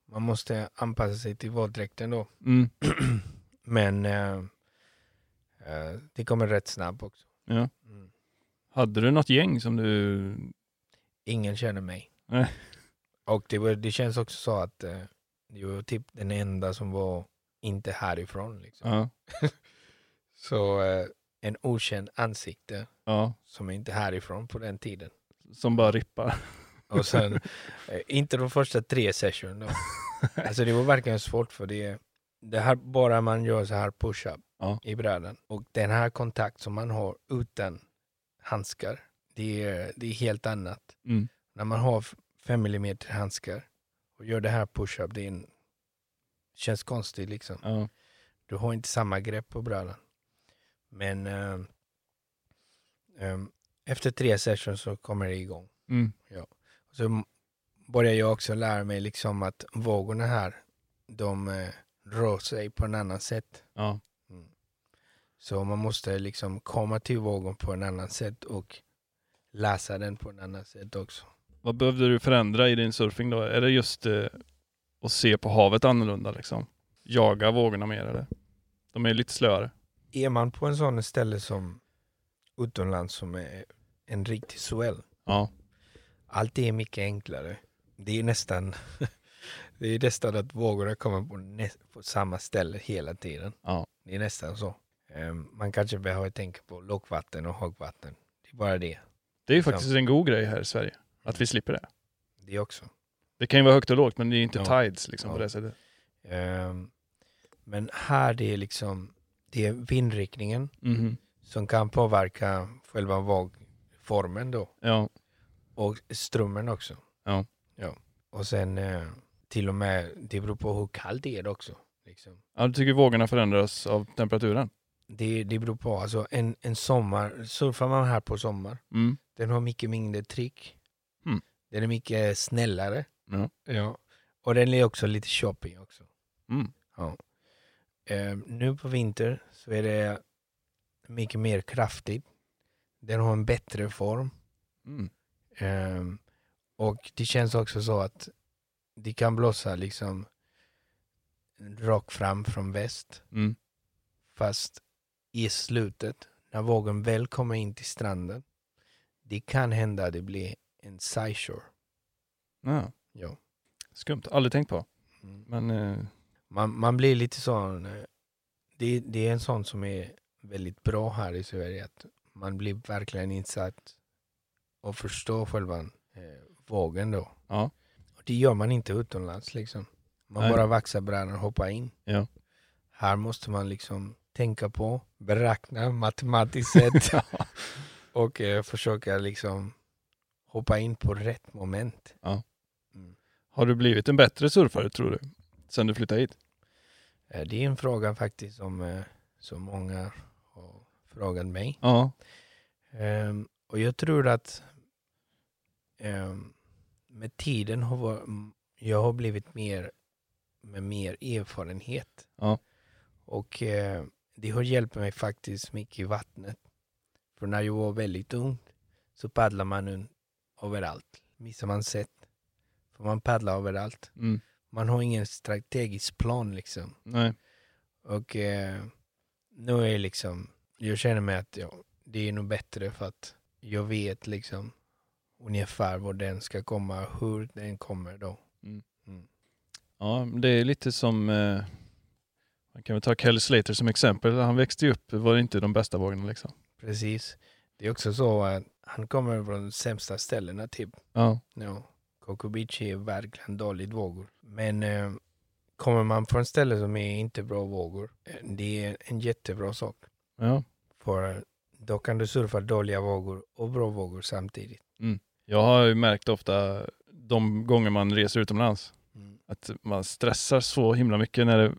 Speaker 2: man måste anpassa sig till våldräkten då.
Speaker 1: mm.
Speaker 2: Men eh, eh, det kommer rätt snabbt också.
Speaker 1: Ja.
Speaker 2: Mm.
Speaker 1: Hade du något gäng som du...
Speaker 2: Ingen känner mig.
Speaker 1: Nej.
Speaker 2: Och det, var, det känns också så att eh, det var typ den enda som var inte härifrån. Liksom.
Speaker 1: Ja,
Speaker 2: Så eh, en okänd ansikte
Speaker 1: ja
Speaker 2: som inte är härifrån på den tiden.
Speaker 1: som bara rippar.
Speaker 2: Och sen, eh, inte de första tre sessionerna. Alltså det var verkligen svårt för det. Det här, bara man gör så här push-up
Speaker 1: Ja.
Speaker 2: i brädan och den här kontakt som man har utan handskar, det är, det är helt annat.
Speaker 1: Mm.
Speaker 2: När man har 5 mm handskar och gör det här push-up, det är en, känns konstigt liksom.
Speaker 1: Ja.
Speaker 2: Du har inte samma grepp på brädan. Men eh, em, efter tre sessions så kommer det igång.
Speaker 1: Mm.
Speaker 2: Så m- börjar jag också lära mig liksom att vågorna här, de eh, rör sig på en annan sätt.
Speaker 1: Ja.
Speaker 2: Så man måste liksom komma till vågen på en annan sätt och läsa den på en annan sätt också.
Speaker 1: Vad behövde du förändra i din surfing då? Är det just eh, att se på havet annorlunda liksom? Jaga vågorna mer eller? De är lite slöare.
Speaker 2: Är man på en sån ställe som utomlands som är en riktig swell,
Speaker 1: Ja.
Speaker 2: Allt är mycket enklare. Det är nästan, det är nästan att vågorna kommer på, nä- på samma ställe hela tiden.
Speaker 1: Ja.
Speaker 2: Det är nästan så. Ehm, man kanske behöver tänka på lågvatten och högvatten. Det är bara det.
Speaker 1: Det är ju faktiskt en god grej här i Sverige, att vi slipper det.
Speaker 2: Det också.
Speaker 1: Det kan ju vara högt och lågt, men det är inte
Speaker 2: Ja.
Speaker 1: tides liksom på
Speaker 2: Ja.
Speaker 1: det sättet.
Speaker 2: Ehm, men här det är liksom, det är vindriktningen
Speaker 1: Mhm.
Speaker 2: som kan påverka själva vågformen då.
Speaker 1: Ja.
Speaker 2: Och strömmen också.
Speaker 1: Ja.
Speaker 2: ja. Och sen eh, till och med, det beror på hur kallt det är också. Liksom.
Speaker 1: ja, du tycker vågorna förändras av temperaturen?
Speaker 2: Det, det beror på. Alltså en, en sommar, surfar man här på sommar,
Speaker 1: Mm.
Speaker 2: den har mycket mindre tryck.
Speaker 1: Mm.
Speaker 2: Den är mycket snällare.
Speaker 1: Ja.
Speaker 2: Ja. Och den är också lite shopping också.
Speaker 1: Mm.
Speaker 2: Ja. Ehm, nu på vinter så är det mycket mer kraftigt. Den har en bättre form.
Speaker 1: Mm.
Speaker 2: Ehm, och det känns också så att det kan blåsa liksom rakt fram från väst.
Speaker 1: Mm.
Speaker 2: Fast i slutet, när vågen väl kommer in till stranden, det kan hända att det blir en sideshore.
Speaker 1: Ja.
Speaker 2: Ja.
Speaker 1: Skumt, aldrig tänkt på.
Speaker 2: Mm.
Speaker 1: Men eh,
Speaker 2: Man, man blir lite sån, eh, det, det är en sån som är väldigt bra här i Sverige, att man blir verkligen insatt och förstår själva eh, vågen då.
Speaker 1: Ja.
Speaker 2: Och det gör man inte utomlands liksom. Man
Speaker 1: Nej.
Speaker 2: bara vaxar brädan och hoppar in.
Speaker 1: Ja.
Speaker 2: Här måste man liksom tänka på, beräkna matematiskt sett. och eh, försöka liksom hoppa in på rätt moment.
Speaker 1: har du blivit en bättre surfare tror du? Sen du flyttade hit?
Speaker 2: Eh, Det är en fråga faktiskt som, eh, som många har frågat mig.
Speaker 1: Ja.
Speaker 2: Ehm, och jag tror att ehm, med tiden har var- m- jag har blivit mer med mer erfarenhet.
Speaker 1: Ja.
Speaker 2: Och eh, det har hjälpt mig faktiskt mycket i vattnet. För när jag var väldigt ung så paddlar man un- överallt. Missar man sätt. För man paddlar överallt.
Speaker 1: Mm.
Speaker 2: Man har ingen strategisk plan liksom.
Speaker 1: Nej.
Speaker 2: Och eh, nu är jag liksom, jag känner mig att ja, det är nog bättre för att jag vet liksom ungefär var den ska komma, hur den kommer då.
Speaker 1: Ja, det är lite som eh, Man kan väl ta Kelly Slater som exempel. Han växte ju upp, var inte de bästa vågorna liksom.
Speaker 2: Precis. Det är också så att han kommer från de sämsta ställena typ.
Speaker 1: Ja,
Speaker 2: Ja. Kokobichi är verkligen dåligt vågor. Men eh, kommer man från ställen som är inte bra vågor, eh, det är en jättebra sak.
Speaker 1: ja.
Speaker 2: För då kan du surfa dåliga vågor och bra vågor samtidigt.
Speaker 1: Jag har ju märkt ofta de gånger man reser utomlands
Speaker 2: Mm.
Speaker 1: att man stressar så himla mycket när det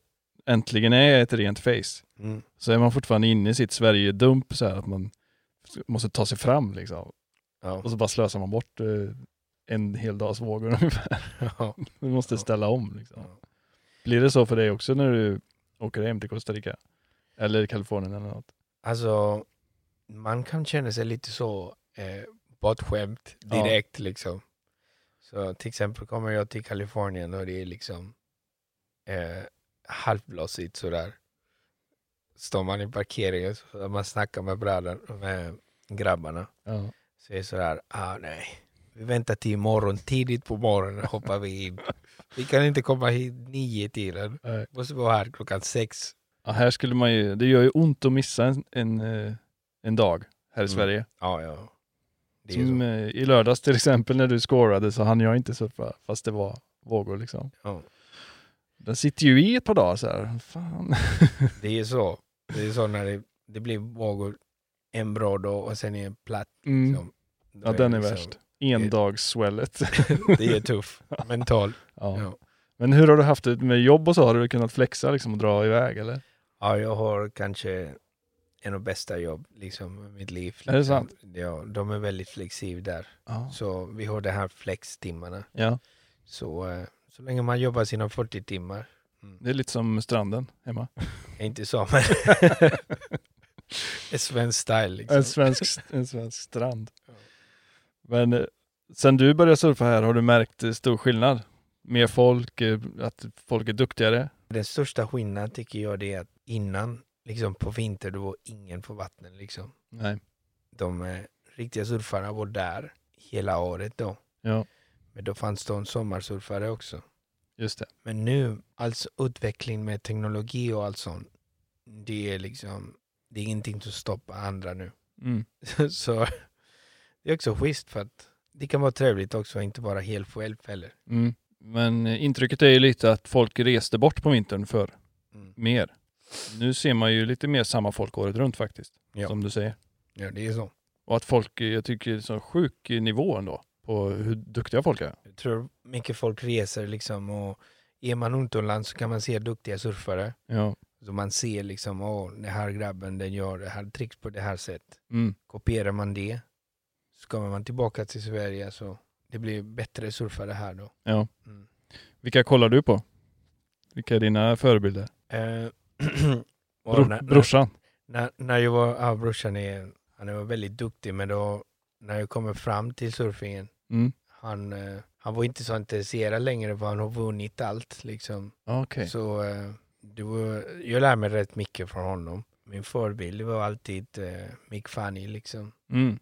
Speaker 1: äntligen är ett rent face.
Speaker 2: Mm.
Speaker 1: Så är man fortfarande inne i sitt Sverige-dump så här att man måste ta sig fram liksom.
Speaker 2: Ja.
Speaker 1: Och så bara slösar man bort eh, en hel dags vågor ungefär.
Speaker 2: Ja.
Speaker 1: Du måste
Speaker 2: Ja.
Speaker 1: ställa om liksom.
Speaker 2: Ja.
Speaker 1: Blir det så för dig också när du åker hem till Costa Rica? Eller Kalifornien eller något?
Speaker 2: Alltså, man kan känna sig lite så eh, bortskämd direkt liksom. Så till exempel kommer jag till Kalifornien och det är liksom eh, halvblåsigt sådär. Står man i parkeringen så man snackar med, bröder, med grabbarna.
Speaker 1: Ja.
Speaker 2: Så det är sådär, ah nej, vi väntar till imorgon, tidigt på morgonen hoppar vi in. Vi kan inte komma hit nio tiden.
Speaker 1: Nej.
Speaker 2: Måste vara här klockan sex.
Speaker 1: ja, här skulle man ju, det gör ju ont att missa en, en, eh, en dag här i
Speaker 2: Mm.
Speaker 1: Sverige.
Speaker 2: Ja, ja. Det är så.
Speaker 1: Som eh, i lördags till exempel när du scorade så hann jag inte surfa fast det var vågor liksom.
Speaker 2: Ja.
Speaker 1: Den sitter ju i ett par dagar så här. Fan.
Speaker 2: Det är så. Det är så när det, det blir vågor en bra dag och sen är det platt.
Speaker 1: Mm.
Speaker 2: Liksom. Då
Speaker 1: Ja, den är
Speaker 2: det så.
Speaker 1: värst. Endagsswället.
Speaker 2: Det är tuff. Mental.
Speaker 1: Ja.
Speaker 2: Ja.
Speaker 1: Men hur har du haft det med jobb och så? Har du kunnat flexa liksom och dra iväg eller?
Speaker 2: Ja, jag har kanske en av bästa jobb liksom, i mitt liv. Liksom.
Speaker 1: Är det sant?
Speaker 2: Ja, de är väldigt flexibla där.
Speaker 1: Ja.
Speaker 2: Så vi har de här flextimmarna.
Speaker 1: ja.
Speaker 2: Så, eh, så länge man jobbar sina 40 timmar.
Speaker 1: Det är lite som stranden hemma.
Speaker 2: Inte så, men det är svensk style. Liksom.
Speaker 1: En svensk, en svensk strand.
Speaker 2: Ja.
Speaker 1: Men eh, sen du började surfa här har du märkt eh, stor skillnad? Mer folk, eh, att folk är duktigare?
Speaker 2: Den största skillnaden tycker jag det är att innan, liksom på vinter, då var ingen på vattnet. Liksom.
Speaker 1: Nej.
Speaker 2: De eh, riktiga surfarna var där hela året då.
Speaker 1: Ja,
Speaker 2: Men då fanns det en sommarsurfare också.
Speaker 1: just det.
Speaker 2: Men nu, alltså utveckling med teknologi och allt sånt, det är liksom, det är ingenting som stoppar andra nu.
Speaker 1: Mm.
Speaker 2: Så det är också schysst för att det kan vara trevligt också, inte bara helt själv heller.
Speaker 1: Mm. Men eh, intrycket är ju lite att folk reste bort på vintern för
Speaker 2: Mm.
Speaker 1: mer. Nu ser man ju lite mer samma folk året runt faktiskt,
Speaker 2: Ja.
Speaker 1: som du säger.
Speaker 2: Ja, det är så.
Speaker 1: Och att folk, eh, jag tycker det är en sån sjuk eh, nivå ändå på hur duktiga folk är.
Speaker 2: Jag tror mycket folk reser liksom och är man utomlands så kan man se duktiga surfare.
Speaker 1: Ja.
Speaker 2: Så man ser liksom, åh, den här grabben den gör det här tricks på det här sättet.
Speaker 1: Mm.
Speaker 2: Kopierar man det så kommer man tillbaka till Sverige så det blir bättre surfare här då.
Speaker 1: ja.
Speaker 2: Mm.
Speaker 1: Vilka kollar du på? Vilka är dina förebilder?
Speaker 2: Eh, och
Speaker 1: Bro,
Speaker 2: när-
Speaker 1: brorsan?
Speaker 2: När, när jag var, ja, brorsan är, han var väldigt duktig men då när jag kommer fram till surfingen,
Speaker 1: Mm.
Speaker 2: han, eh, han var inte så intresserad längre för han har vunnit allt liksom.
Speaker 1: Okej.
Speaker 2: Så eh, det var, jag lär mig rätt mycket från honom. Min förebild var alltid eh, Mick Fanny liksom.
Speaker 1: Mm.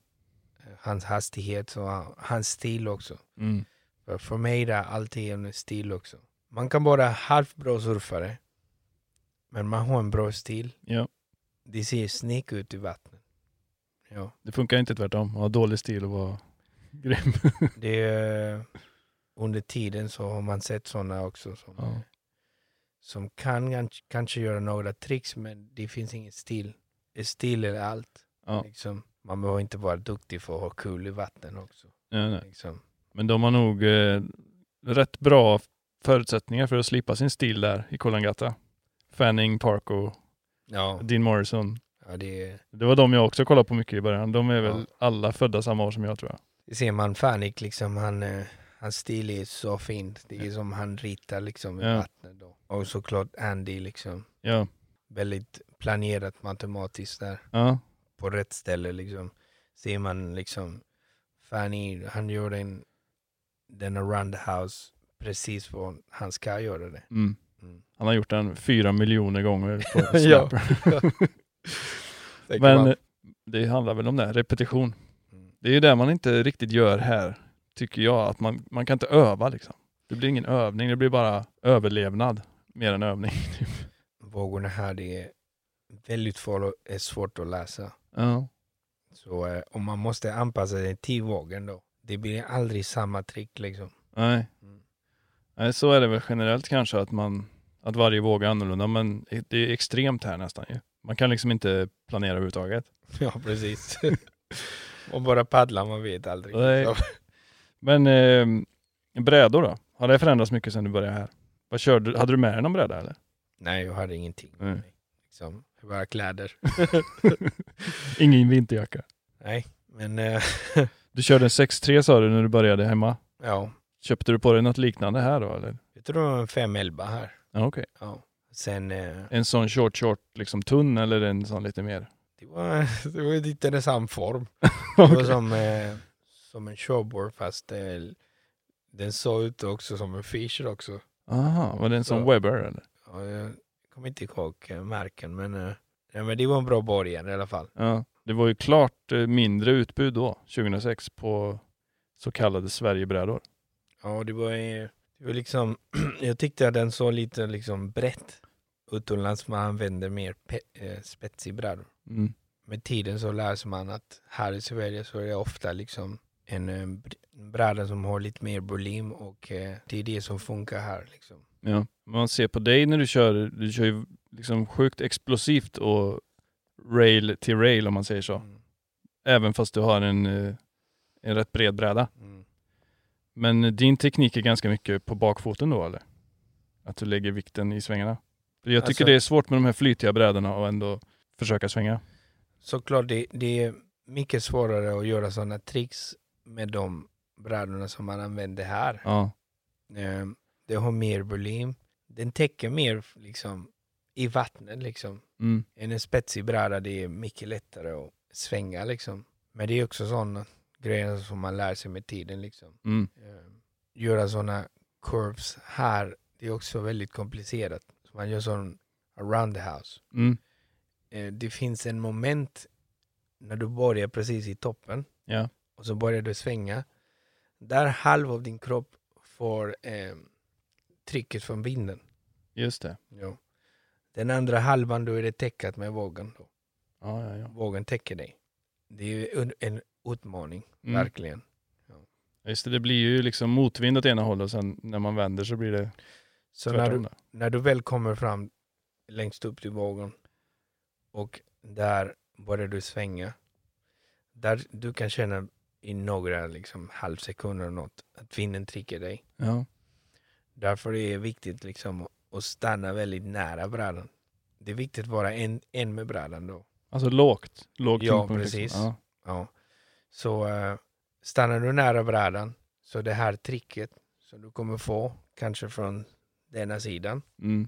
Speaker 2: Eh, Hans hastighet och han- hans stil också.
Speaker 1: Mm.
Speaker 2: För, för mig är det alltid en stil också. Man kan vara halvbra surfare men man har en bra stil.
Speaker 1: Ja.
Speaker 2: Det ser snyggt ut i vattnet. Ja.
Speaker 1: Det funkar inte tvärtom. Ha dålig stil och vara grym.
Speaker 2: Det är, under tiden så har man sett sådana också som,
Speaker 1: Ja.
Speaker 2: som kan kans- kanske göra några tricks men det finns ingen stil. Stil är allt.
Speaker 1: Ja.
Speaker 2: Liksom, man behöver inte vara duktig för att ha kul i vatten också.
Speaker 1: Nej, nej.
Speaker 2: Liksom.
Speaker 1: Men de har nog eh, rätt bra förutsättningar för att slippa sin stil där i Kolangata. Fanning, Parko,
Speaker 2: Ja,
Speaker 1: Dean Morrison.
Speaker 2: ja det, är-
Speaker 1: Det var de jag också kollade på mycket i början. De är väl
Speaker 2: Ja.
Speaker 1: alla födda samma år som jag tror jag.
Speaker 2: det ser man Fanik liksom, han, eh, hans stil är så fin. Det är som han ritar liksom i
Speaker 1: Ja.
Speaker 2: vattnet då. Och såklart Andy liksom,
Speaker 1: Ja.
Speaker 2: väldigt planerat matematiskt där.
Speaker 1: ja.
Speaker 2: på rätt ställe liksom. Ser man liksom Fanny, han gör en denna roundhouse precis vad han ska göra det.
Speaker 1: Mm.
Speaker 2: Mm.
Speaker 1: Han har gjort den fyra miljoner gånger på
Speaker 2: Ja.
Speaker 1: Snapper.
Speaker 2: Det kan
Speaker 1: Men eh,
Speaker 2: man-
Speaker 1: det handlar väl om det, här, repetition.
Speaker 2: Mm.
Speaker 1: Det är ju det man inte riktigt gör här, tycker jag. Att man, man kan inte öva liksom. Det blir ingen övning, det blir bara överlevnad. Mer än övning.
Speaker 2: vågorna här det är väldigt farligt är svårt att läsa.
Speaker 1: Ja.
Speaker 2: Så eh, om man måste anpassa sig till vågen då, det blir aldrig samma trick liksom.
Speaker 1: Nej.
Speaker 2: Mm.
Speaker 1: Nej, så är det väl generellt kanske att man, att varje våg är annorlunda, men det är extremt här nästan ju. Man kan liksom inte planera överhuvudtaget.
Speaker 2: Ja, precis. man bara paddlar, man vet aldrig.
Speaker 1: Nej.
Speaker 2: Så,
Speaker 1: Men eh, brädor då? Har det förändrats mycket sedan du började här? Vad körde du? Hade du med dig någon bräda eller?
Speaker 2: nej, jag hade ingenting. med
Speaker 1: Nej.
Speaker 2: mig, Liksom, bara kläder.
Speaker 1: Ingen vinterjacka.
Speaker 2: Nej, men eh,
Speaker 1: Du körde en 6-3 sa du när du började hemma.
Speaker 2: ja,
Speaker 1: Köpte du på dig något liknande här då eller?
Speaker 2: jag tror det var en 511 här.
Speaker 1: Ja, okej.
Speaker 2: Ja. Sen, eh,
Speaker 1: En sån short short liksom tunn eller en sån lite mer?
Speaker 2: det var, det var en intressant form. Det var
Speaker 1: Okej.
Speaker 2: som, eh, som en showboard fast eh, den såg ut också som en fisher också.
Speaker 1: Aha, var det en sån
Speaker 2: Så.
Speaker 1: Weber eller?
Speaker 2: Ja, jag kommer inte ihåg eh, märken men, eh, ja, men det var en bra början i alla fall.
Speaker 1: Ja. Det var ju klart eh, mindre utbud då, 2006, på så kallade Sverigebrädor.
Speaker 2: Ja, det var, eh, det var liksom, jag tyckte att den såg lite liksom brett. Utomlands man använder mer pe- eh, spetsig brädor.
Speaker 1: Mm.
Speaker 2: Med tiden så lär sig man att här i Sverige så är det ofta liksom en eh, br- bräda som har lite mer volym och eh, det är det som funkar här liksom.
Speaker 1: Ja. Man ser på dig när du kör, du kör ju liksom sjukt explosivt och rail till rail om man säger så.
Speaker 2: Mm.
Speaker 1: Även fast du har en, eh, en rätt bred bräda.
Speaker 2: Mm.
Speaker 1: Men din teknik är ganska mycket på bakfoten då eller? Att du lägger vikten i svängarna? För jag tycker
Speaker 2: Alltså-
Speaker 1: det är svårt med de här flytiga brädorna och ändå försöka svänga.
Speaker 2: Såklart, det, det är mycket svårare att göra sådana tricks med de brädorna som man använder här.
Speaker 1: Ja.
Speaker 2: Eh, Det har mer volym. Den täcker mer liksom i vattnet liksom.
Speaker 1: Mm.
Speaker 2: Än en spetsig bräda, det är mycket lättare att svänga liksom. Men det är också sådana grejer som man lär sig med tiden liksom.
Speaker 1: Mm.
Speaker 2: Eh, Göra sådana curves här, det är också väldigt komplicerat. Så man gör sån around the house
Speaker 1: Mm.
Speaker 2: eh, det finns en moment när du börjar precis i toppen
Speaker 1: Ja.
Speaker 2: och så börjar du svänga. Där halv av din kropp får eh, trycket från vinden.
Speaker 1: Just det.
Speaker 2: Ja. Den andra halvan då är det täckat med vågen. Då.
Speaker 1: Ja, ja, ja.
Speaker 2: Vågen täcker dig. Det är ju en, en utmaning,
Speaker 1: Mm.
Speaker 2: verkligen.
Speaker 1: Just det, det blir ju liksom motvind åt ena hållet och sen när man vänder så blir det
Speaker 2: Så när
Speaker 1: tvärtom.
Speaker 2: du,
Speaker 1: där.
Speaker 2: när du väl kommer fram längst upp till vågen och där börjar du svänga. Där du kan känna i några liksom, halvsekunder eller något att vinden trycker dig.
Speaker 1: Ja.
Speaker 2: Därför är det viktigt liksom, att stanna väldigt nära brädan. Det är viktigt att vara en, en med brädan då.
Speaker 1: Alltså lågt. Låg
Speaker 2: Ja,
Speaker 1: tyngdpunkt
Speaker 2: precis.
Speaker 1: Liksom. Ja.
Speaker 2: Ja. Så eh, stannar du nära brädan så det här tricket som du kommer få, kanske från denna sidan,
Speaker 1: Mm.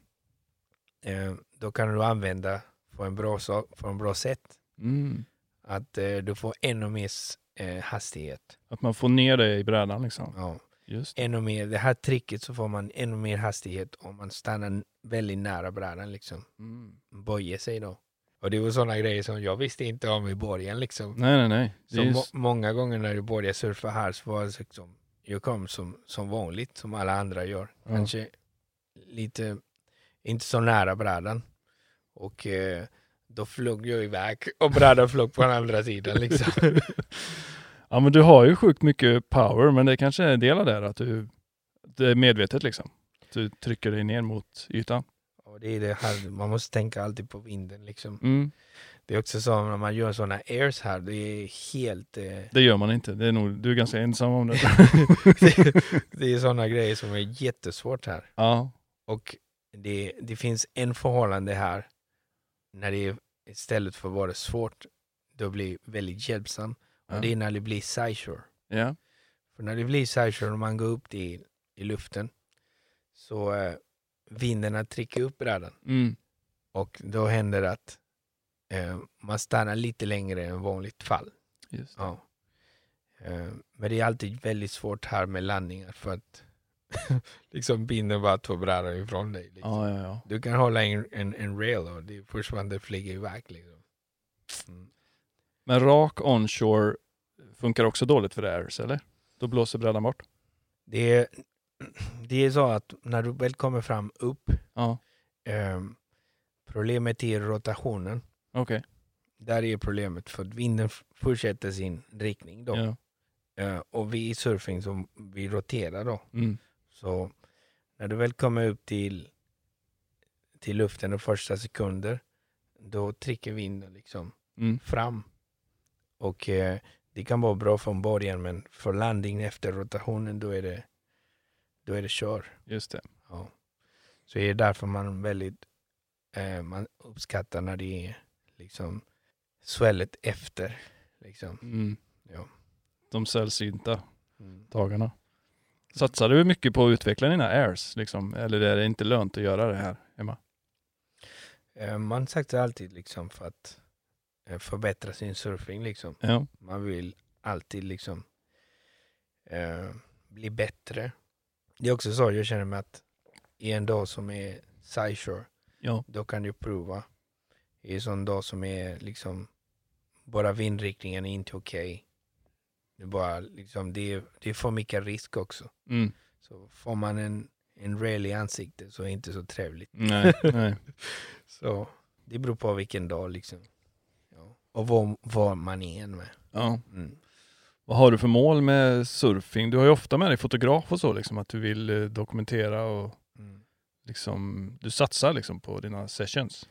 Speaker 2: eh, då kan du använda på en bra, sak, på en bra sätt.
Speaker 1: Mm.
Speaker 2: Att eh, du får ännu mer s- eh, hastighet.
Speaker 1: Att man får ner det i brädan liksom.
Speaker 2: Ja.
Speaker 1: Just det.
Speaker 2: Ännu mer, det här tricket så får man ännu mer hastighet om man stannar väldigt nära brädan. Liksom.
Speaker 1: Mm.
Speaker 2: Böjer sig då. Och det var sådana grejer som jag visste inte om i början. Liksom.
Speaker 1: Nej, nej, nej. Det
Speaker 2: Så
Speaker 1: är ju
Speaker 2: må-
Speaker 1: s-
Speaker 2: många gånger när jag började surfa här så var det liksom, jag kom som, som vanligt, som alla andra gör.
Speaker 1: Ja.
Speaker 2: Kanske lite, inte så nära brädan. Och eh, då flög jag iväg och brädan flög på den andra sidan liksom.
Speaker 1: Ja, men du har ju sjukt mycket power, men det kanske är en del av det här, att du det är medvetet liksom. Att Du trycker dig ner mot ytan.
Speaker 2: och det är det här, man måste tänka alltid på vinden liksom.
Speaker 1: Mm.
Speaker 2: Det är också så när man gör sådana airs här, det är helt... Eh,
Speaker 1: Det gör man inte. Det är nog, du är ganska ensam om det.
Speaker 2: det, det är sådana grejer som är jättesvårt här.
Speaker 1: ja.
Speaker 2: Och det, det finns en förhållande här när det är, istället för att vara svårt, då blir väldigt hjälpsam.
Speaker 1: Ja.
Speaker 2: Och det är när det blir sideshore.
Speaker 1: ja.
Speaker 2: För när det blir sideshore och man går upp i, i luften så eh, vindarna trycker upp brädan
Speaker 1: Mm.
Speaker 2: och då händer det att eh, man stannar lite längre än vanligt fall.
Speaker 1: Just. det.
Speaker 2: Ja. Eh, Men det är alltid väldigt svårt här med landningar för att liksom vinden bara tar brädan ifrån dig. Liksom.
Speaker 1: Ja, ja, ja.
Speaker 2: Du kan hålla en, en, en rail och det är först när det flyger iväg. Liksom. Mm.
Speaker 1: Men rak onshore funkar också dåligt för airs, eller? Då blåser brädan bort.
Speaker 2: Det, är, det är så att när du väl kommer fram upp,
Speaker 1: Ja.
Speaker 2: ehm, Problemet är rotationen.
Speaker 1: Okej.
Speaker 2: Där är problemet för att vinden f- fortsätter sin riktning då.
Speaker 1: Ja.
Speaker 2: Eh, och vi i surfing som vi roterar då.
Speaker 1: Mm.
Speaker 2: Så när du väl kommer upp till, till luften de första sekunder, då trycker vinden liksom
Speaker 1: Mm.
Speaker 2: fram. Och eh, det kan vara bra från början, men för landning efter rotationen, då är det, då är det kör.
Speaker 1: Just det.
Speaker 2: Så det är därför man väldigt eh, man uppskattar när det är liksom svället efter. Liksom.
Speaker 1: Mm.
Speaker 2: Ja.
Speaker 1: De sällsynta dagarna. Satsar du mycket på att utveckla dina airs? Liksom? Eller är det inte lönt att göra det här hemma?
Speaker 2: Eh, man satsar alltid liksom för att eh, förbättra sin surfing. Liksom.
Speaker 1: Ja.
Speaker 2: Man vill alltid liksom eh, bli bättre. Det är också så jag känner mig att i en dag som är sideshore,
Speaker 1: Ja.
Speaker 2: då kan du prova. I en sån dag som är liksom, bara vindriktningen är inte okej. Det är bara liksom, det är, det är för mycket risk också.
Speaker 1: Mm.
Speaker 2: Så får man en, en rail i ansiktet så är det inte så trevligt.
Speaker 1: Nej, nej.
Speaker 2: Så det beror på vilken dag liksom. Ja. Och var, var man är med.
Speaker 1: Ja.
Speaker 2: Mm.
Speaker 1: Vad har du för mål med surfing? Du har ju ofta med dig fotograf och så, liksom, att du vill eh, dokumentera och
Speaker 2: Mm.
Speaker 1: liksom, du satsar liksom, på dina sessions.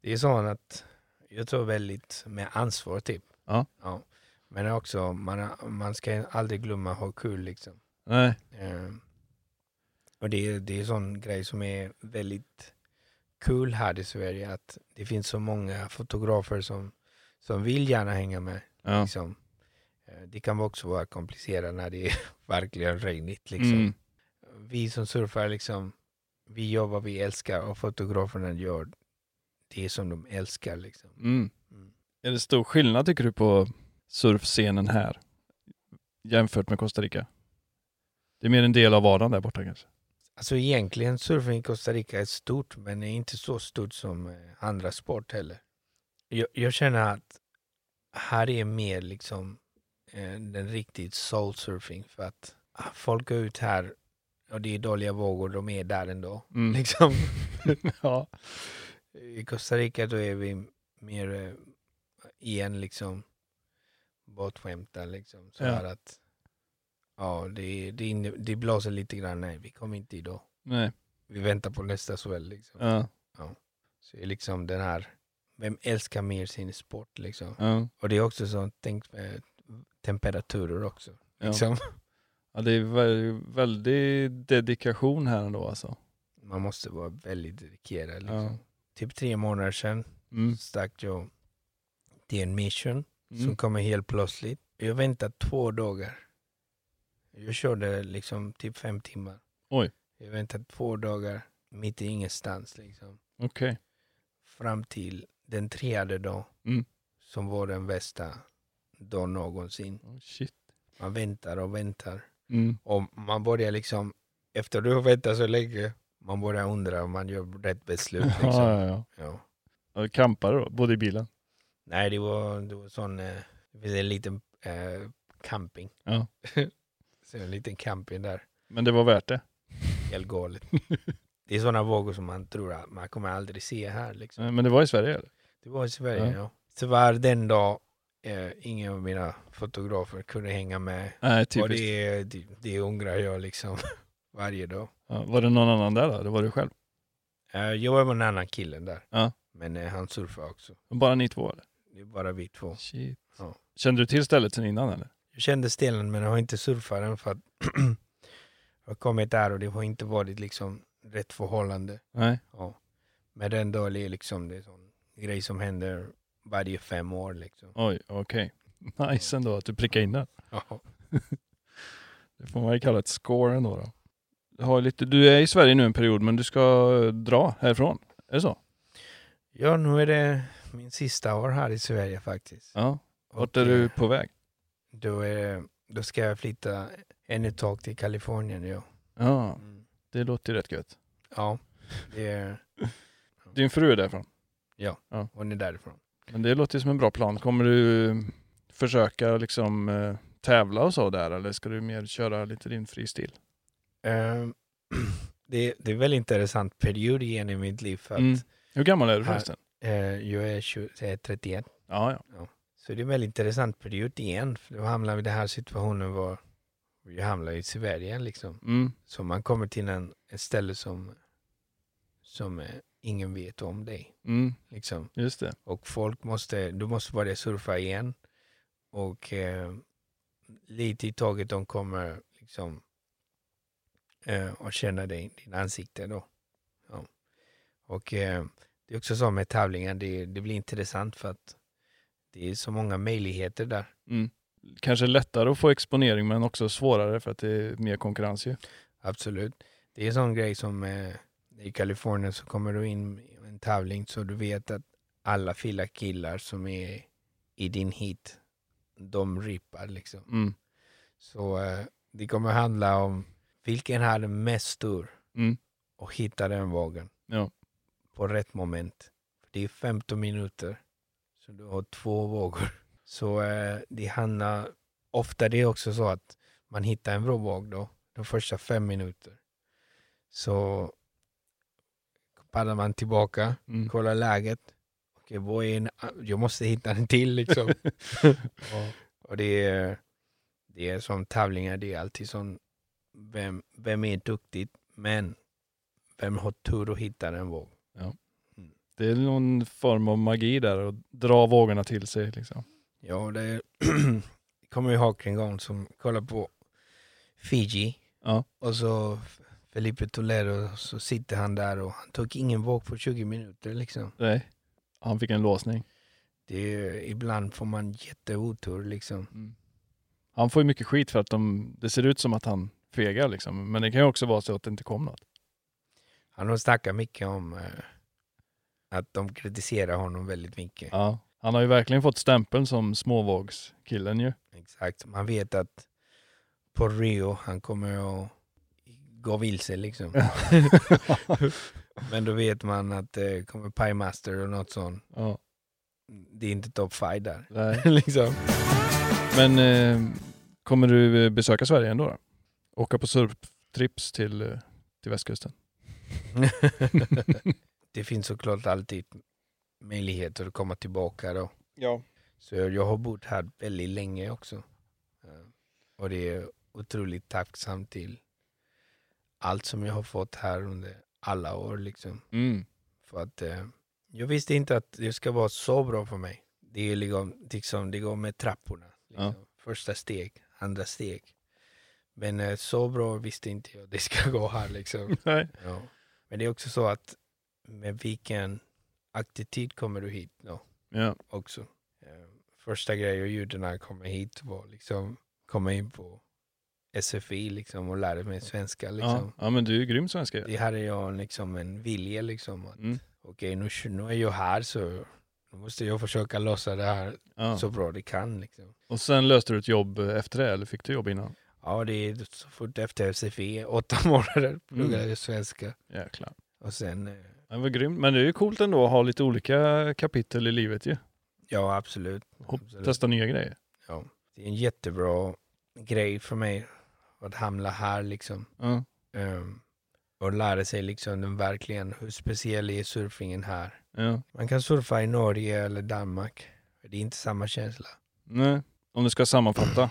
Speaker 2: Det är sånt att jag tar väldigt med ansvar typ.
Speaker 1: Ja.
Speaker 2: Men också, man, man ska aldrig glömma ha kul liksom.
Speaker 1: Nej.
Speaker 2: Eh, och det, är- det är en sån grej som är väldigt kul här i Sverige att det finns så många fotografer som, som vill gärna hänga med.
Speaker 1: Ja.
Speaker 2: Liksom. Eh, det kan också vara komplicerat när det är verkligen regnigt. Liksom.
Speaker 1: Mm.
Speaker 2: Vi som surfar, liksom, vi gör vad vi älskar och fotograferna gör det som de älskar. Liksom.
Speaker 1: Mm.
Speaker 2: Mm.
Speaker 1: Är det stor skillnad tycker du på surfscenen här jämfört med Costa Rica? Det är mer en del av vardagen där borta kanske?
Speaker 2: Alltså egentligen surfing i Costa Rica är stort men är inte så stort som eh, andra sport heller. Jag, jag känner att här är mer liksom eh, den riktigt soul surfing för att ah, folk är ut här och det är dåliga vågor, de är där ändå.
Speaker 1: Mm.
Speaker 2: Liksom.
Speaker 1: ja.
Speaker 2: I Costa Rica då är vi mer eh, igen liksom bortskämta liksom. Så
Speaker 1: Ja.
Speaker 2: här att ja, det, det, inne- det blåser lite grann, nej vi kommer inte idag.
Speaker 1: Nej.
Speaker 2: Vi väntar på nästa sväll liksom.
Speaker 1: Ja.
Speaker 2: Så det är liksom den här, vem älskar mer sin sport liksom?
Speaker 1: Ja.
Speaker 2: Och det är också sånt, tänk eh, temperaturer också.
Speaker 1: Ja.
Speaker 2: Liksom.
Speaker 1: ja. Det är vä- väldig dedikation här ändå alltså.
Speaker 2: Man måste vara väldigt dedikerad. Liksom.
Speaker 1: Ja.
Speaker 2: Typ tre månader sedan
Speaker 1: Mm.
Speaker 2: stack jag till en mission som
Speaker 1: Mm.
Speaker 2: kommer helt plötsligt. Jag väntade två dagar. Jag körde liksom typ fem timmar.
Speaker 1: Oj.
Speaker 2: Jag väntade två dagar mitt i ingenstans liksom.
Speaker 1: Okej.
Speaker 2: fram till den tredje dagen
Speaker 1: Mm.
Speaker 2: som var den bästa dagen någonsin.
Speaker 1: Oh, shit.
Speaker 2: Man väntar och väntar.
Speaker 1: Mm.
Speaker 2: Och man börjar liksom, efter du har väntat så länge, man börjar undra om man gör rätt beslut. Liksom.
Speaker 1: Ja, ja, ja.
Speaker 2: Ja.
Speaker 1: Ja, vi Kampade då, både i bilen?
Speaker 2: Nej, det var, det var sån, eh, det finns en liten eh, camping.
Speaker 1: Ja.
Speaker 2: så en liten camping där,
Speaker 1: Men det var värt det?
Speaker 2: helt galet. det är sådana vågor som man tror att man kommer aldrig se här. Liksom.
Speaker 1: Eh, Men det var i Sverige eller?
Speaker 2: Det var i Sverige,
Speaker 1: Ja.
Speaker 2: ja. Tyvärr den dag eh, ingen av mina fotografer kunde hänga med.
Speaker 1: Nej,
Speaker 2: Och
Speaker 1: typiskt.
Speaker 2: det, det, det ångrar jag liksom varje dag.
Speaker 1: Ja, var det någon annan där då? Det var du själv?
Speaker 2: Eh, jag var med en annan killen där.
Speaker 1: Ja.
Speaker 2: Men eh, han surfar också.
Speaker 1: Bara ni två eller?
Speaker 2: Det är bara vi två.
Speaker 1: Shit.
Speaker 2: Ja.
Speaker 1: Kände du till stället sen innan eller?
Speaker 2: Jag kände stelen men jag har inte surfat den för att jag har kommit där och det har inte varit liksom rätt förhållande.
Speaker 1: Nej.
Speaker 2: Ja. Men den dagen är liksom det är sån grej som händer varje fem år liksom.
Speaker 1: Oj, okej. Nice ändå att du prickade in den.
Speaker 2: Ja.
Speaker 1: Det får man ju kalla ett score ändå då. Jag Har lite, du är i Sverige nu en period men du ska eh, dra härifrån. Är det så?
Speaker 2: Ja, nu är det min sista år här i Sverige faktiskt.
Speaker 1: Ja. Vart är
Speaker 2: Och,
Speaker 1: du
Speaker 2: eh,
Speaker 1: på väg?
Speaker 2: Då, är, det- då ska jag flytta än ett tag till Kalifornien. Ja, Mm.
Speaker 1: Ja, det låter ju rätt gött.
Speaker 2: ja det är,
Speaker 1: Din fru är därifrån.
Speaker 2: hon är därifrån.
Speaker 1: Men det låter ju som en bra plan. Kommer du eh, försöka liksom eh, tävla och så där eller ska du mer köra lite din fristil?
Speaker 2: Ehm, det, det är väldigt intressant period igen i mitt liv. För att
Speaker 1: Mm. Hur gammal är du
Speaker 2: Här.
Speaker 1: förresten?
Speaker 2: Eh, jag är 20, eh, 31.
Speaker 1: Ja, ja.
Speaker 2: Så det är en väldigt intressant period igen. För då hamnar vi i den här situationen var vi hamnar i Sverige liksom.
Speaker 1: Mm.
Speaker 2: Så man kommer till en, ett ställe som, som eh, ingen vet om dig.
Speaker 1: Mm.
Speaker 2: Liksom.
Speaker 1: Just det.
Speaker 2: Och folk måste, du måste börja surfa igen. Och eh, lite i taget de kommer liksom eh, att känna dig, din ansikte då. Ja. Och eh, det är också så med tävlingar, det, det blir intressant för att det är så många möjligheter där.
Speaker 1: Kanske lättare att få exponering men också svårare för att det är mer konkurrens ju.
Speaker 2: Absolut. Det är en sån grej som eh, i Kalifornien så kommer du in i en tävling så du vet att alla fyra killar som är i din hit, de rippar liksom.
Speaker 1: Mm.
Speaker 2: Så eh, det kommer handla om vilken hade mest tur
Speaker 1: Mm.
Speaker 2: och hitta den vågen
Speaker 1: Ja.
Speaker 2: på rätt moment. För det är 15 minuter, så du har två vågor. Så eh, det handlar, ofta det är också så att man hittar en bra våg då, de första fem minuter. Så paddlar man tillbaka,
Speaker 1: Mm.
Speaker 2: kollar läget. Okej, vad är en, jag måste hitta en till liksom. Och det är, det är som tävlingar, det är alltid som vem, vem är duktig, men vem har tur att hitta den våg?
Speaker 1: Det är någon form av magi där och dra vågorna till sig liksom.
Speaker 2: Ja, det är, jag kommer ihåg en gång som kollade på Fiji
Speaker 1: Ja.
Speaker 2: och så Felipe Toledo, så sitter han där och han tog ingen våg på 20 minuter liksom.
Speaker 1: Nej. Han fick en låsning.
Speaker 2: Det är, ibland får man jätteotur liksom.
Speaker 1: Mm. Han får ju mycket skit för att de, det ser ut som att han fegar liksom. Men det kan ju också vara så att det inte kom något.
Speaker 2: Han har snackat mycket om eh, att de kritiserar honom väldigt mycket.
Speaker 1: Ja. Han har ju verkligen fått stämpeln som småvågskillen ju.
Speaker 2: Exakt. Man vet att på Rio, han kommer att gå vilse liksom. Men då vet man att det kommer Pie Master och något sånt.
Speaker 1: ja.
Speaker 2: Det är inte top five där.
Speaker 1: Nej.
Speaker 2: liksom.
Speaker 1: Men eh, kommer du eh, besöka Sverige ändå då? Åka på surftrips till, eh, till västkusten?
Speaker 2: det finns såklart alltid möjligheter att komma tillbaka då.
Speaker 1: Ja.
Speaker 2: Så jag har bott här väldigt länge också. Ja. Och det är otroligt tacksam till allt som jag har fått här under alla år liksom.
Speaker 1: Mm.
Speaker 2: För att eh, jag visste inte att det ska vara så bra för mig. Det är liksom, liksom det går med trapporna. Liksom.
Speaker 1: Ja.
Speaker 2: Första steg, andra steg. Men eh, så bra visste inte jag det ska gå här liksom.
Speaker 1: Nej.
Speaker 2: ja. Men det är också så att med vilken attityd kommer du hit då
Speaker 1: Ja.
Speaker 2: också. Eh, första grejen jag gjorde när jag kom hit var liksom komma in på SFI liksom och lära mig svenska liksom.
Speaker 1: ja. Ja men du är ju grym svenska. ju.
Speaker 2: Det hade jag liksom en vilja liksom att
Speaker 1: Mm.
Speaker 2: okej nu, nu är jag här så nu måste jag försöka lösa det här
Speaker 1: Ja.
Speaker 2: så bra det kan. Liksom.
Speaker 1: Och sen löste du ett jobb efter det eller fick du jobb innan?
Speaker 2: Ja, det är så fort efter SFI, åtta månader
Speaker 1: Mm.
Speaker 2: pluggade jag svenska
Speaker 1: Jäklar.
Speaker 2: och sen, eh,
Speaker 1: Det var grymt. Men det är ju coolt ändå att ha lite olika kapitel i livet ju.
Speaker 2: ja absolut.
Speaker 1: Och
Speaker 2: Absolut.
Speaker 1: testa nya grejer.
Speaker 2: Ja. Det är en jättebra grej för mig att hamna här liksom
Speaker 1: Ja.
Speaker 2: Ehm, och lära sig liksom den verkligen, hur speciell är surfingen här?
Speaker 1: ja.
Speaker 2: Man kan surfa i Norge eller Danmark, det är inte samma känsla.
Speaker 1: Nej. Om du ska sammanfatta.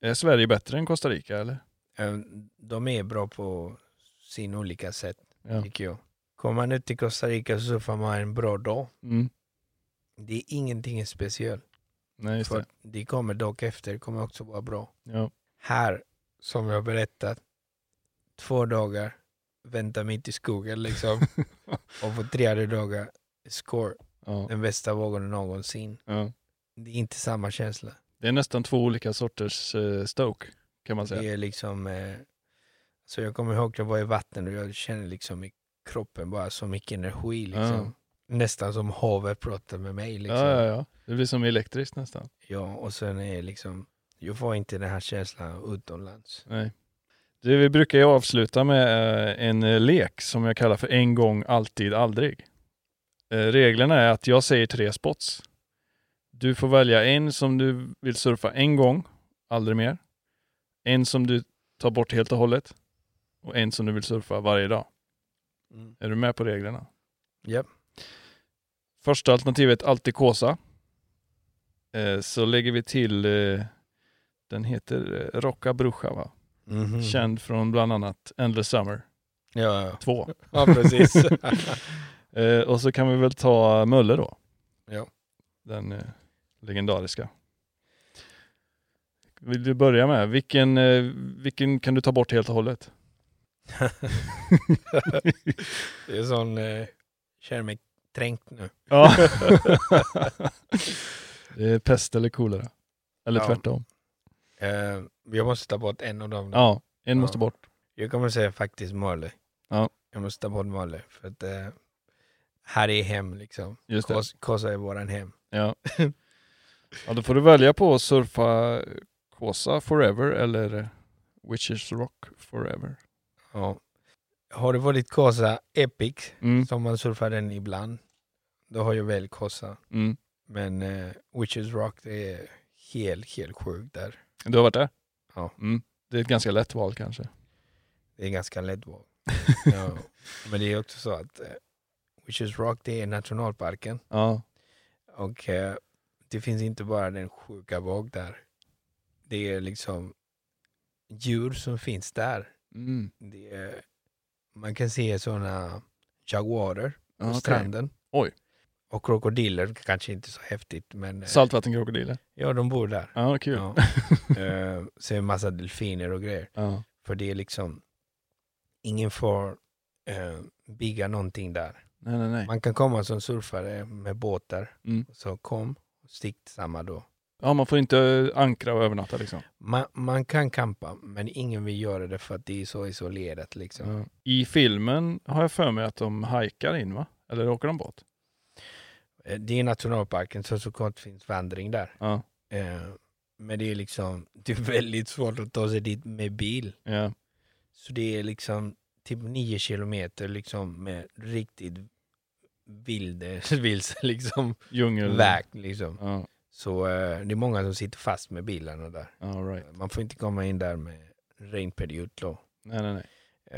Speaker 1: Är Sverige bättre än Costa Rica eller?
Speaker 2: Ehm, de är bra på sin olika sätt.
Speaker 1: Ja.
Speaker 2: tycker jag. Kommer man ut till Costa Rica så får man en bra dag.
Speaker 1: Mm.
Speaker 2: Det är ingenting speciellt.
Speaker 1: Nej just
Speaker 2: För
Speaker 1: det.
Speaker 2: att det kommer dock efter, det kommer också vara bra.
Speaker 1: Ja.
Speaker 2: Här, som jag berättat, två dagar, vänta mitt i skogen liksom. och på tredje dagar, score,
Speaker 1: Ja.
Speaker 2: den bästa vågen någonsin.
Speaker 1: ja.
Speaker 2: Det är inte samma känsla.
Speaker 1: Det är nästan två olika sorters eh, stoke kan man säga.
Speaker 2: Det är liksom, eh, så jag kommer ihåg att jag var i vatten och jag kände liksom i kroppen bara så mycket energi liksom. Nästan som havet pratar med mig liksom.
Speaker 1: Ja, ja, ja. Det blir som elektriskt nästan.
Speaker 2: Ja, och sen är liksom, jag får inte den här känslan utomlands.
Speaker 1: Nej. Du, vi brukar ju avsluta med eh, en eh, lek som jag kallar för en gång, alltid, aldrig. Eh, Reglerna är att jag säger tre spots. Du får välja en som du vill surfa en gång, aldrig mer. En som du tar bort helt och hållet. Mm. Och en som du vill surfa varje dag. Är du med på reglerna?
Speaker 2: Japp.
Speaker 1: Första alternativet alltid Kåsa. Eh, så lägger vi till, eh, den heter eh, Rocka Brucha va?
Speaker 2: Mhm.
Speaker 1: Känd från bland annat Endless Summer
Speaker 2: Ja, ja.
Speaker 1: 2.
Speaker 2: ja precis.
Speaker 1: Eh, och så kan vi väl ta Mölle då.
Speaker 2: Ja.
Speaker 1: Den eh, legendariska. Vill du börja med? Vilken, eh, vilken kan du ta bort helt och hållet?
Speaker 2: det är sån, eh, känner mig tränkt nu.
Speaker 1: Ja. det är Eh, pest eller kolera. Eller
Speaker 2: Ja. Mm.
Speaker 1: tvärtom.
Speaker 2: Eh, jag måste ta bort en av dem. då.
Speaker 1: Ja, en måste
Speaker 2: Ja.
Speaker 1: bort.
Speaker 2: Jag kommer säga faktiskt Mölle.
Speaker 1: Ja.
Speaker 2: Jag måste ta bort Mölle för att eh, här är hem liksom.
Speaker 1: Just det.
Speaker 2: Kos- Kåsa är våran hem.
Speaker 1: Ja. ja, då får du välja på att surfa Kåsa forever eller Witches Rock forever.
Speaker 2: Ja. Har det varit Kåsa Epic
Speaker 1: Mm,
Speaker 2: som man surfar den ibland, då har jag väl Kåsa.
Speaker 1: mm.
Speaker 2: Men eh, Witches Rock, det är helt, helt sjukt där.
Speaker 1: Du har varit där?
Speaker 2: Ja.
Speaker 1: Mm. Det är ett ganska lätt val kanske.
Speaker 2: Det är ganska lätt val. ja. Men det är också så att eh, Witches Rock, det är nationalparken.
Speaker 1: Ja,
Speaker 2: Och eh, det finns inte bara den sjuka våg där. Det är liksom djur som finns där.
Speaker 1: mm.
Speaker 2: Det är, man kan se sådana jaguarer på
Speaker 1: Ja, okej.
Speaker 2: stranden.
Speaker 1: Oj.
Speaker 2: Och krokodiler, kanske inte så häftigt, men eh,
Speaker 1: Saltvattenkrokodiler?
Speaker 2: ja, de bor där.
Speaker 1: Ja, kul. Ja.
Speaker 2: Ja. Eh, så är det massa delfiner och grejer.
Speaker 1: Ja.
Speaker 2: För det är liksom, ingen får eh, bygga någonting där.
Speaker 1: Nej, nej, nej.
Speaker 2: Man kan komma som surfare med båtar,
Speaker 1: Mm.
Speaker 2: så kom, stick samma då.
Speaker 1: Ja, man får inte ankra och övernatta liksom.
Speaker 2: Man, man kan kampa, men ingen vill göra det för att det är så isolerat. Liksom.
Speaker 1: Ja. I filmen har jag för mig att de hajkar in va? Eller åker de båt?
Speaker 2: Eh, Det är nationalparken, så såklart finns vandring där.
Speaker 1: Ja.
Speaker 2: Eh, Men det är liksom, det är väldigt svårt att ta sig dit med bil.
Speaker 1: ja.
Speaker 2: Så det är liksom typ nio kilometer liksom med riktigt vilde, vilse liksom,
Speaker 1: Djungel.
Speaker 2: väg. Liksom.
Speaker 1: Ja,
Speaker 2: Så eh, det är många som sitter fast med bilarna där.
Speaker 1: all right.
Speaker 2: Man får inte komma in där med regnperiod då.
Speaker 1: Nej, nej, nej.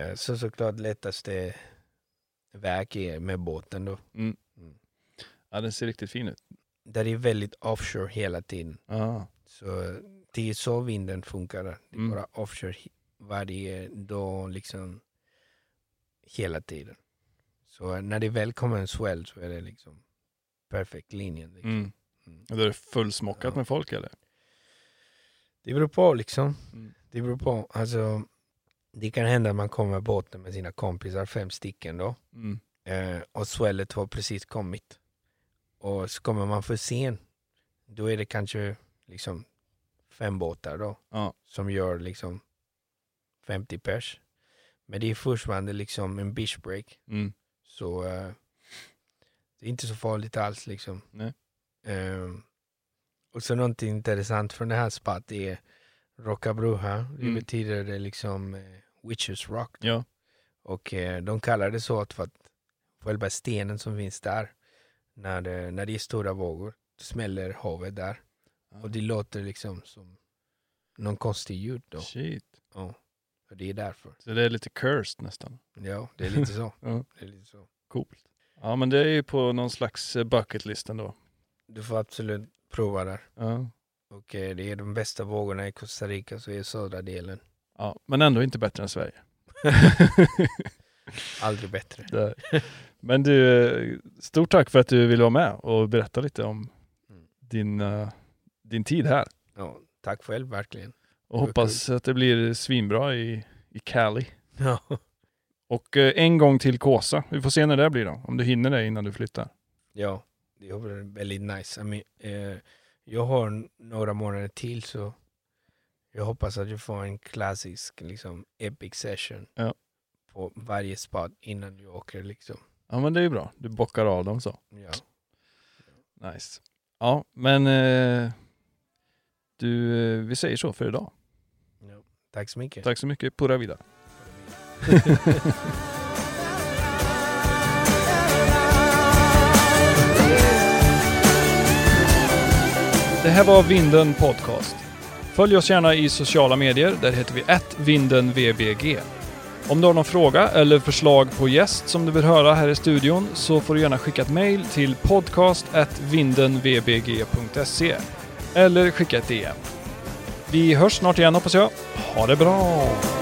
Speaker 2: Eh, Så såklart lättaste väg är med båten då.
Speaker 1: Ja, den ser riktigt fin ut.
Speaker 2: Där det är väldigt offshore hela tiden.
Speaker 1: Ja.
Speaker 2: Så eh, det är så vinden funkar. där. Det är
Speaker 1: Mm.
Speaker 2: bara offshore he- varje dag, liksom hela tiden. Så eh, när det väl kommer en swell så är det liksom perfekt linjen. Liksom.
Speaker 1: Mm.
Speaker 2: Mm.
Speaker 1: Då är det fullsmockat med folk eller?
Speaker 2: Det beror på liksom.
Speaker 1: Mm.
Speaker 2: Det beror på. Alltså, det kan hända att man kommer med båten med sina kompisar, fem stycken då.
Speaker 1: Mm.
Speaker 2: Eh, och swellet har precis kommit. Och så kommer man för sen, då är det kanske liksom fem båtar då.
Speaker 1: Ja.
Speaker 2: Som gör liksom 50 pers. Men det är fortfarande liksom en beach break.
Speaker 1: Mm.
Speaker 2: Så eh, det är inte så farligt alls liksom.
Speaker 1: Nej.
Speaker 2: Eh, och så någonting intressant från det här spat är Rocka Bruja. Det
Speaker 1: Mm.
Speaker 2: betyder det liksom eh, Witches Rock.
Speaker 1: Ja.
Speaker 2: Och eh, de kallar det så att för att själva stenen som finns där, när det, när det är stora vågor, då smäller havet där.
Speaker 1: Ja.
Speaker 2: Och det låter liksom som någon konstig ljud då.
Speaker 1: Shit.
Speaker 2: Och det är därför.
Speaker 1: Så det är lite cursed nästan.
Speaker 2: Ja, det är lite så.
Speaker 1: Ja.
Speaker 2: det är lite så.
Speaker 1: Coolt. Ja, men det är ju på någon slags eh, bucket list ändå.
Speaker 2: Du får absolut prova där.
Speaker 1: Ja.
Speaker 2: Och eh, det är de bästa vågorna i Costa Rica, så är södra delen
Speaker 1: ja. Men ändå inte bättre än Sverige.
Speaker 2: aldrig bättre.
Speaker 1: Där. Men du, eh, stort tack för att du ville vara med och berätta lite om
Speaker 2: Mm.
Speaker 1: din, eh, din tid här.
Speaker 2: Ja, tack själv verkligen.
Speaker 1: Och
Speaker 2: var
Speaker 1: hoppas att det blir svinbra i, i Cali.
Speaker 2: Ja.
Speaker 1: Och eh, en gång till Kåsa. Vi får se när det blir då. Om du hinner det innan du flyttar.
Speaker 2: Ja, det var väldigt nice. I mean, eh, jag har n- några månader till så jag hoppas att jag får en klassisk liksom, epic session
Speaker 1: Ja.
Speaker 2: på varje spot innan jag åker. Liksom.
Speaker 1: Ja men det är ju bra. Du bockar av dem så.
Speaker 2: Ja.
Speaker 1: Nice. Ja men eh, du, eh, vi säger så för idag.
Speaker 2: Ja. Tack så mycket.
Speaker 1: Tack så mycket. Pura vida. Det här var Vinden Podcast. Följ oss gärna i sociala medier. Där heter vi @vindenvbg. Om du har någon fråga eller förslag på gäst som du vill höra här i studion så får du gärna skicka ett mejl till podcast.vindenvbg.se eller skicka ett DM. Vi hörs snart igen hoppas jag. Ha det bra!